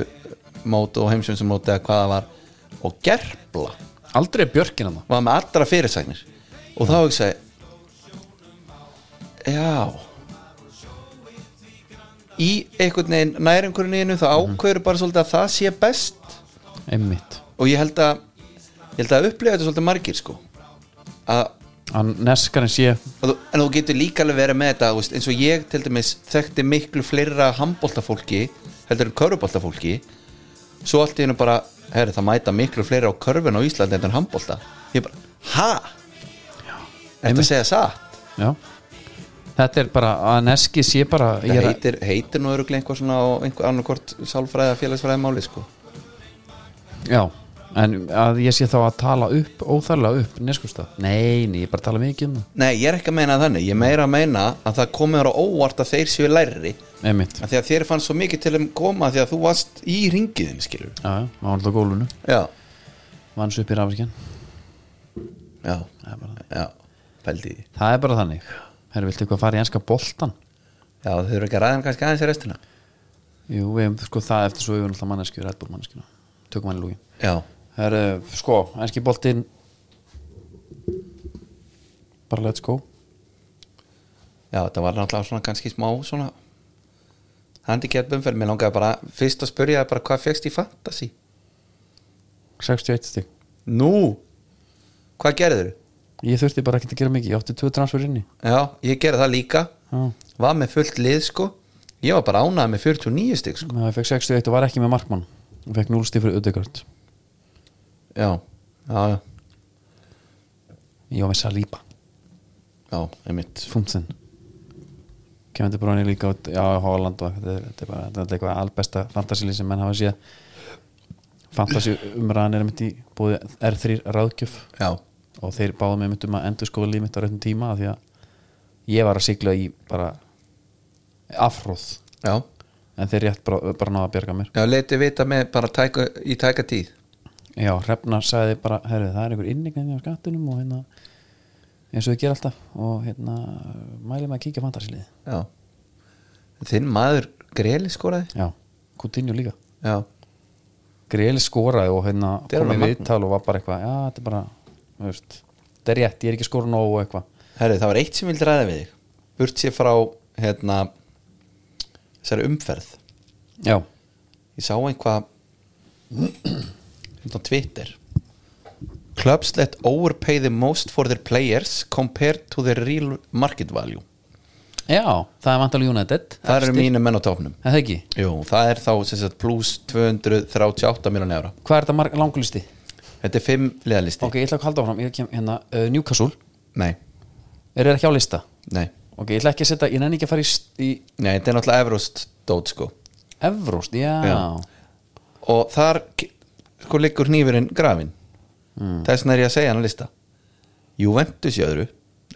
S2: mót og heimsjömsumóti eða hvað það var og gerpla
S1: Aldrei er björkin hann
S2: var með allra fyrirsagnir og þá hugsaði já í einhvern veginn næringurinn einu þá ákveður bara svolítið að það sé best
S1: Einmitt
S2: og ég held að ég held að upplifa þetta svolítið margir sko að,
S1: Hann neskarinn sé
S2: að þú, en þú getur líka alveg verið með þetta þú veist, eins og ég til dæmis þekkti miklu fleira handbóltafólki heldur en körubóltafólki svo allt í hennu bara, herri það mæta miklu fleira á körfun á Íslandi heldur en handbólta ég bara, ha? Þetta
S1: einmitt.
S2: að segja satt
S1: Já Þetta er bara, að neski sé bara ég
S2: það
S1: er að-
S2: heitir, heitir nú öruglega einhver svona og einhver annarkort sálfræða félagsfræða máli sko
S1: Já, en að ég sé þá að tala upp óþarlega upp neskustaf Nei, nei, ég bara tala mikið um
S2: Nei, ég er ekki að meina þannig, ég er meira að meina að það komið á óvart að þeir séu lærri
S1: það Einmitt Já,
S2: að því að þér fannst svo mikið til að koma því að þú varst í ringiðin skilur
S1: já, það var alltaf gólunu
S2: já,
S1: Vanns upp í rafirkjan
S2: já,
S1: Það er bara-
S2: já pældi í því
S1: það er bara þannig Herru, viltu eitthvað fara í enska boltan?
S2: já, þau eru ekki að ræðan kannski aðeins í restina
S1: Jú, við hefum sko það eftir svo við erum alltaf manneskju Red Bull manneskjuna Tökum hann í lúgin
S2: já,
S1: Herru, sko, enski boltin Bara let's go
S2: já, þetta var náttúrulega svona kannski smá svona handikert umferð, mér langaði bara fyrst að spyrja þig bara hvað fegst í fantasy
S1: 61 stig
S2: nú, hvað gerður
S1: Ég þurfti bara ekki að gera mikið, ég átti tvö transfer inni
S2: já, ég gerði það líka
S1: Já,
S2: var með fullt lið sko ég var bara ánað með 49 stygg sko
S1: ég fekk 61 og var ekki með markmann Ég fekk 0 stig fyrir Udegard
S2: já, já, já,
S1: Ég var með Saliba
S2: já, einmitt
S1: Funsen Kevin De Bruyne líka út á Holland og þetta er, þetta er bara þetta er eitthvað albesta fantasíli sem menn hafa séð fantasí umræðan er mitt í búið R3 ráðgjöf
S2: já,
S1: og þeir báðu mig mitt um að endur skoða líf mitt á réttum tíma af því að ég var að sigla í bara afróð
S2: já,
S1: en þeir rétt bara, bara náða að bjarga mér
S2: já, leti vita með bara tæka, í tæka tíð
S1: Já, Hrefna sagði bara, herru, það er einhver innigræðin á skattunum og hérna eins og þau gera alltaf og hérna mælum að kíkja fantasílið
S2: Já Þinn maður Greli skoraði
S1: Já, Coutinho líka
S2: Já,
S1: Grill skoraði og hérna
S2: er
S1: kom í
S2: alveg
S1: viðtal og var bara eitthvað já, þetta er bara, þú veist þetta er rétt, ég er ekki að skora nógu og eitthvað
S2: herri, það var eitt sem vildi ræða við þig Burt sér frá hérna þessari umferð
S1: já,
S2: Ég sá einhvað hérna á Twitter Clubs let overpay the most for their players compared to their real market value
S1: já, það er vantalega United
S2: Það eru
S1: Efstir.
S2: mínu menn á topnum
S1: Er það ekki,
S2: Jú, það er þá sem sagt pluss 238 miljón eura
S1: hvað er þetta marg langulisti?
S2: Þetta er 5 leðalisti
S1: Ok, ég ætla að halda áfram, ég kem hérna uh, Newcastle,
S2: Nei,
S1: er það ekki á lista?
S2: nei,
S1: Ok, ég ætla ekki að setja, ég nenni ekki að fara í, st- í
S2: nei, þetta er náttúrulega Evrost dót sko
S1: Evróst, já,
S2: Já. og þar ke- sko liggur hnífurinn grafin þess vegna er ég að segja hann að lista Juventus í öðru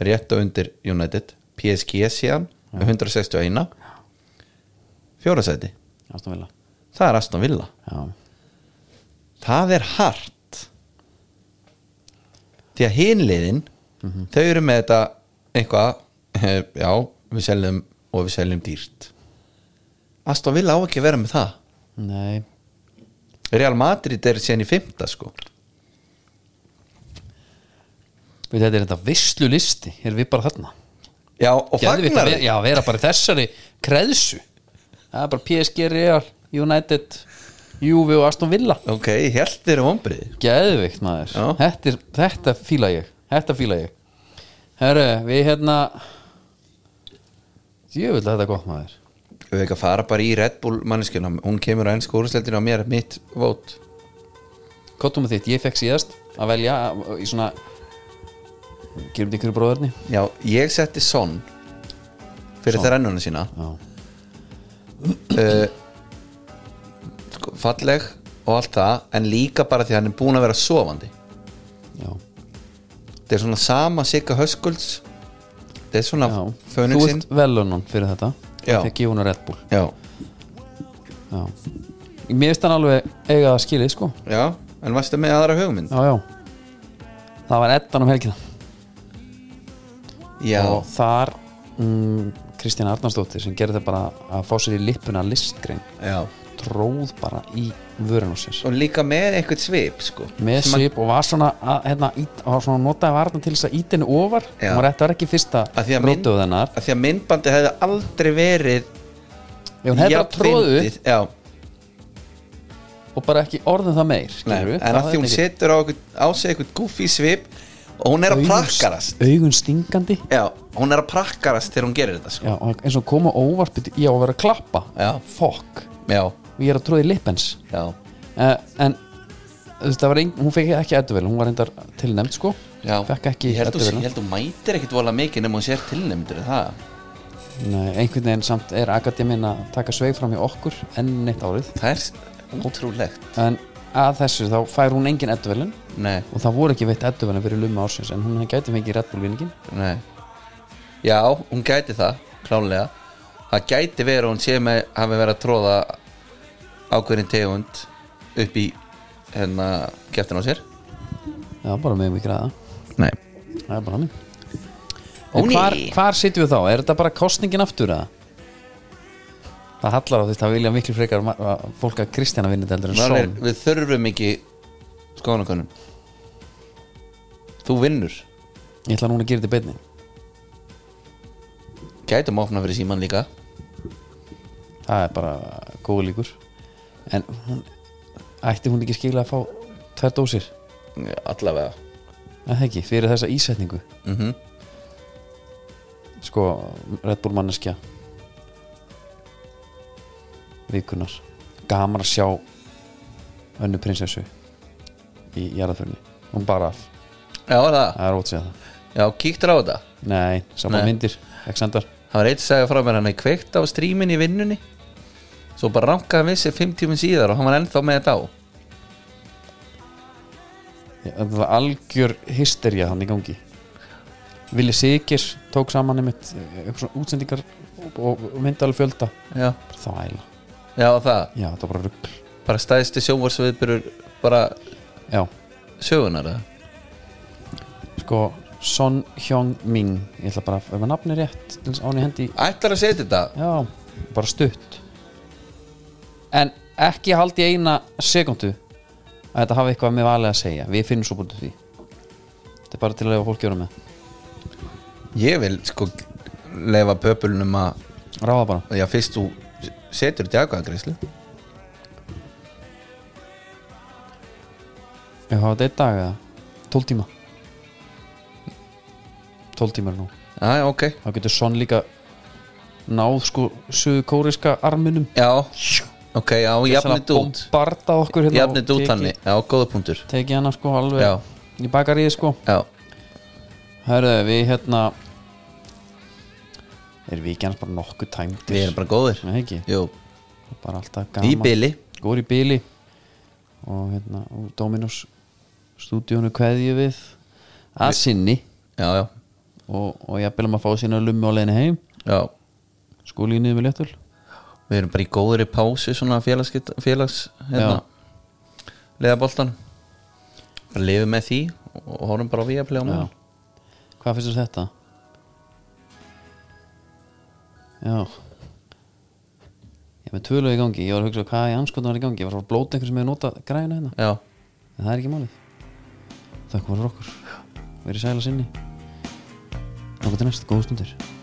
S2: rétt og undir United PSG síðan með 161 fjórasæti
S1: ástum vilja
S2: það er Aston Villa
S1: Já,
S2: það er hart því að hinliðin þau eru með þetta eitthvað eh, já, við seljum og við seljum dýrt Aston Villa á ekki að vera með það
S1: nei,
S2: Real Madrid er síðan í fymta sko
S1: við þetta er þetta vislu listi, erum við bara þarna
S2: Já, og
S1: Geðvikt að
S2: fagnar
S1: vera- Já, vera bara í þessari kreðsu Það er bara PSG, Real, United Júfi og Aston Villa
S2: ok, ég held þér um ombrið
S1: Geðvikt maður
S2: Já.
S1: þetta, er, þetta fíla ég Þetta fíla ég Herru, við hérna Jöfull er þetta gott maður
S2: við ekki að fara bara í Red Bull manneskjuna hún kemur á ennsku úrslættinu á mér mitt vót
S1: Kottum með þitt, ég fekk síðast að velja í svona Gerum þetta ykkur bróðurni
S2: já, ég setti Son fyrir þrennuna sína
S1: Já.
S2: uh, sko, falleg og allt það en líka bara því að hann er búin að vera sofandi
S1: Já,
S2: þetta er svona sama Sigga Höskulds þetta er svona
S1: já. Þú
S2: fönugsinn
S1: ert velunum fyrir þetta
S2: Já.
S1: Þegar gefa hún að Red Bull
S2: já,
S1: Já. Mér finnst hann alveg eiga að skilið sko
S2: já, en varstu með aðra hugmynd
S1: Já, já Það var Eddan um helgina
S2: já,
S1: Og þar mm, Kristjana Arnarsdóttir sem gerði það bara að fá sér í lippuna listgrein
S2: já
S1: tróð bara í vörun á sér
S2: og líka með eitthvað svip sko
S1: með
S2: Sem að-
S1: svip og var svona, að, hérna, ít, var svona notaði varna til þess að ít henni ofar
S2: Já.
S1: hún var þetta var ekki fyrsta
S2: að því að, mynd,
S1: rótuð hennar
S2: að því að myndbandi hefði aldrei verið
S1: ef hún hefði bara
S2: jafn
S1: tróðu
S2: fyndið. já,
S1: og bara ekki orðin það meir
S2: nei,
S1: skilurðu,
S2: en
S1: þá
S2: að því hún
S1: hefði ekki-
S2: setur á, okkur, á sig eitthvað goofy svip og hún er að
S1: Augun-
S2: prakkarast
S1: augun stingandi
S2: já, hún er að prakkarast þegar hún gerir þetta sko.
S1: já, og eins og koma óvart byrju, ég á að vera að klappa
S2: Já.
S1: fokk,
S2: já,
S1: og ég er að tróði lippens
S2: já,
S1: uh, en þú veist, það var ein, hún fekk ekki edduvel hún var reyndar tilnefnd sko
S2: já.
S1: fekk ekki
S2: ég held, hún,
S1: edduvel
S2: ég held hún mætir ekkit vola mikið nema hún sér tilnæmdur það,
S1: Nei, einhvern veginn samt er akademinn að taka sveig fram í okkur enn eitt árið
S2: það er s- ótrúlegt
S1: en að þessu þá fær hún engin edduvelin
S2: nei,
S1: og það voru ekki veitt edduvelin fyrir lumma ársins en hún gæti fengið Red Bull vinningin
S2: nei já, hún gæti það, klálega það gæti verið að hún sé með hafi verið að tróða ákveðin tegund upp í hérna kæftin á sér
S1: það var bara með mikið ræða
S2: Nei
S1: það er bara hann
S2: Ó,
S1: en
S2: nei.
S1: hvar, hvar sitjum við þá? Er þetta bara kostningin aftur eða? Það hallar á því það vilja miklu frekar ma- að fólk að Kristjana vinni þetta heldur en
S2: Málir,
S1: Són
S2: Við þurfum ekki skoðanakonum Þú vinnur
S1: Ég ætla núna að gera þetta í beinni
S2: Gætum að opna fyrir síman líka
S1: það er bara góð líkur en hún, ætti hún ekki skilja að fá tvær dósir
S2: Já, Allavega
S1: eða ekki, fyrir þessa ísetningu
S2: mm
S1: sko, Red Bull manneskja vikunar gaman að sjá önnu prinsessu í jarðaförni hún bara,
S2: Já, það
S1: það er ótsið að það
S2: Já, kíktur á þetta
S1: nei, saman
S2: Nei.
S1: myndir, Alexander
S2: Það var eitt að segja frá mér hann er kveikt á strímin í vinnunni Svo bara rankaði hann við sér fimm tímum síðar og hann var ennþá með þetta á
S1: Já, það var algjör hystería hann í gangi Vili Sigir tók saman einmitt eh, eitthvað svona útsendingar og og myndi alveg fjölda
S2: Já,
S1: bara þvæla,
S2: já það
S1: já þetta var bara rugl
S2: Bara stæðstu sjónvarsviðbyrur bara
S1: já,
S2: sögunar eða?
S1: sko Son Hyung Min ég ætla bara, ef maður nafni rétt til þess án í hendi,
S2: Ætlar að setja þetta
S1: já, bara stutt en ekki haldi eina sekundu að þetta hafi eitthvað með valið að segja við finnum svo búin því þetta er bara til að lefa fólk gjöra með
S2: Ég vil sko leifa pöpulnum að
S1: ráða bara,
S2: Já, fyrst þú setur þetta í aðgæðagreyslu
S1: ég hafa þetta einn dag eða 12 tíma 12 tíma er nú
S2: Já, ok
S1: þá getur Son líka náð sko söðu kóriska arminum
S2: Já, ok, já, jafnit út
S1: bombarda okkur hérna
S2: Jafnit út hann Já, góða punktur
S1: tekið hana sko alveg
S2: Já.
S1: í bakaríði sko
S2: Já,
S1: Hörðu, við hérna erum við ekki annars bara nokkuð tæmdir
S2: við erum bara góðir
S1: Nei, ekki,
S2: Jú,
S1: bara alltaf
S2: í
S1: gaman
S2: byli
S1: Góður í bíli og hérna, og Dominos stúdíónu kveðju við að sinni
S2: Já, já,
S1: og, og ég byrjum að fá sína lummi á leiðinu heim
S2: já
S1: skóli í niður með léttul
S2: Við erum bara í góðri pásu Svona félags, félags hérna, Leðaboltan Bara lifum með því Og horfum bara á við að playa á
S1: Já.
S2: meðan
S1: Hvað finnst þér þetta? Já Ég er með tvölu í gangi Ég var að hugsa hvað í anskotan var í gangi Ég var að fara að blóta einhver sem hefur notað græna hérna
S2: Já,
S1: En það er ekki málið Þakka fyrir okkur Verið sæla sinni Nókuð til næst, góða stundir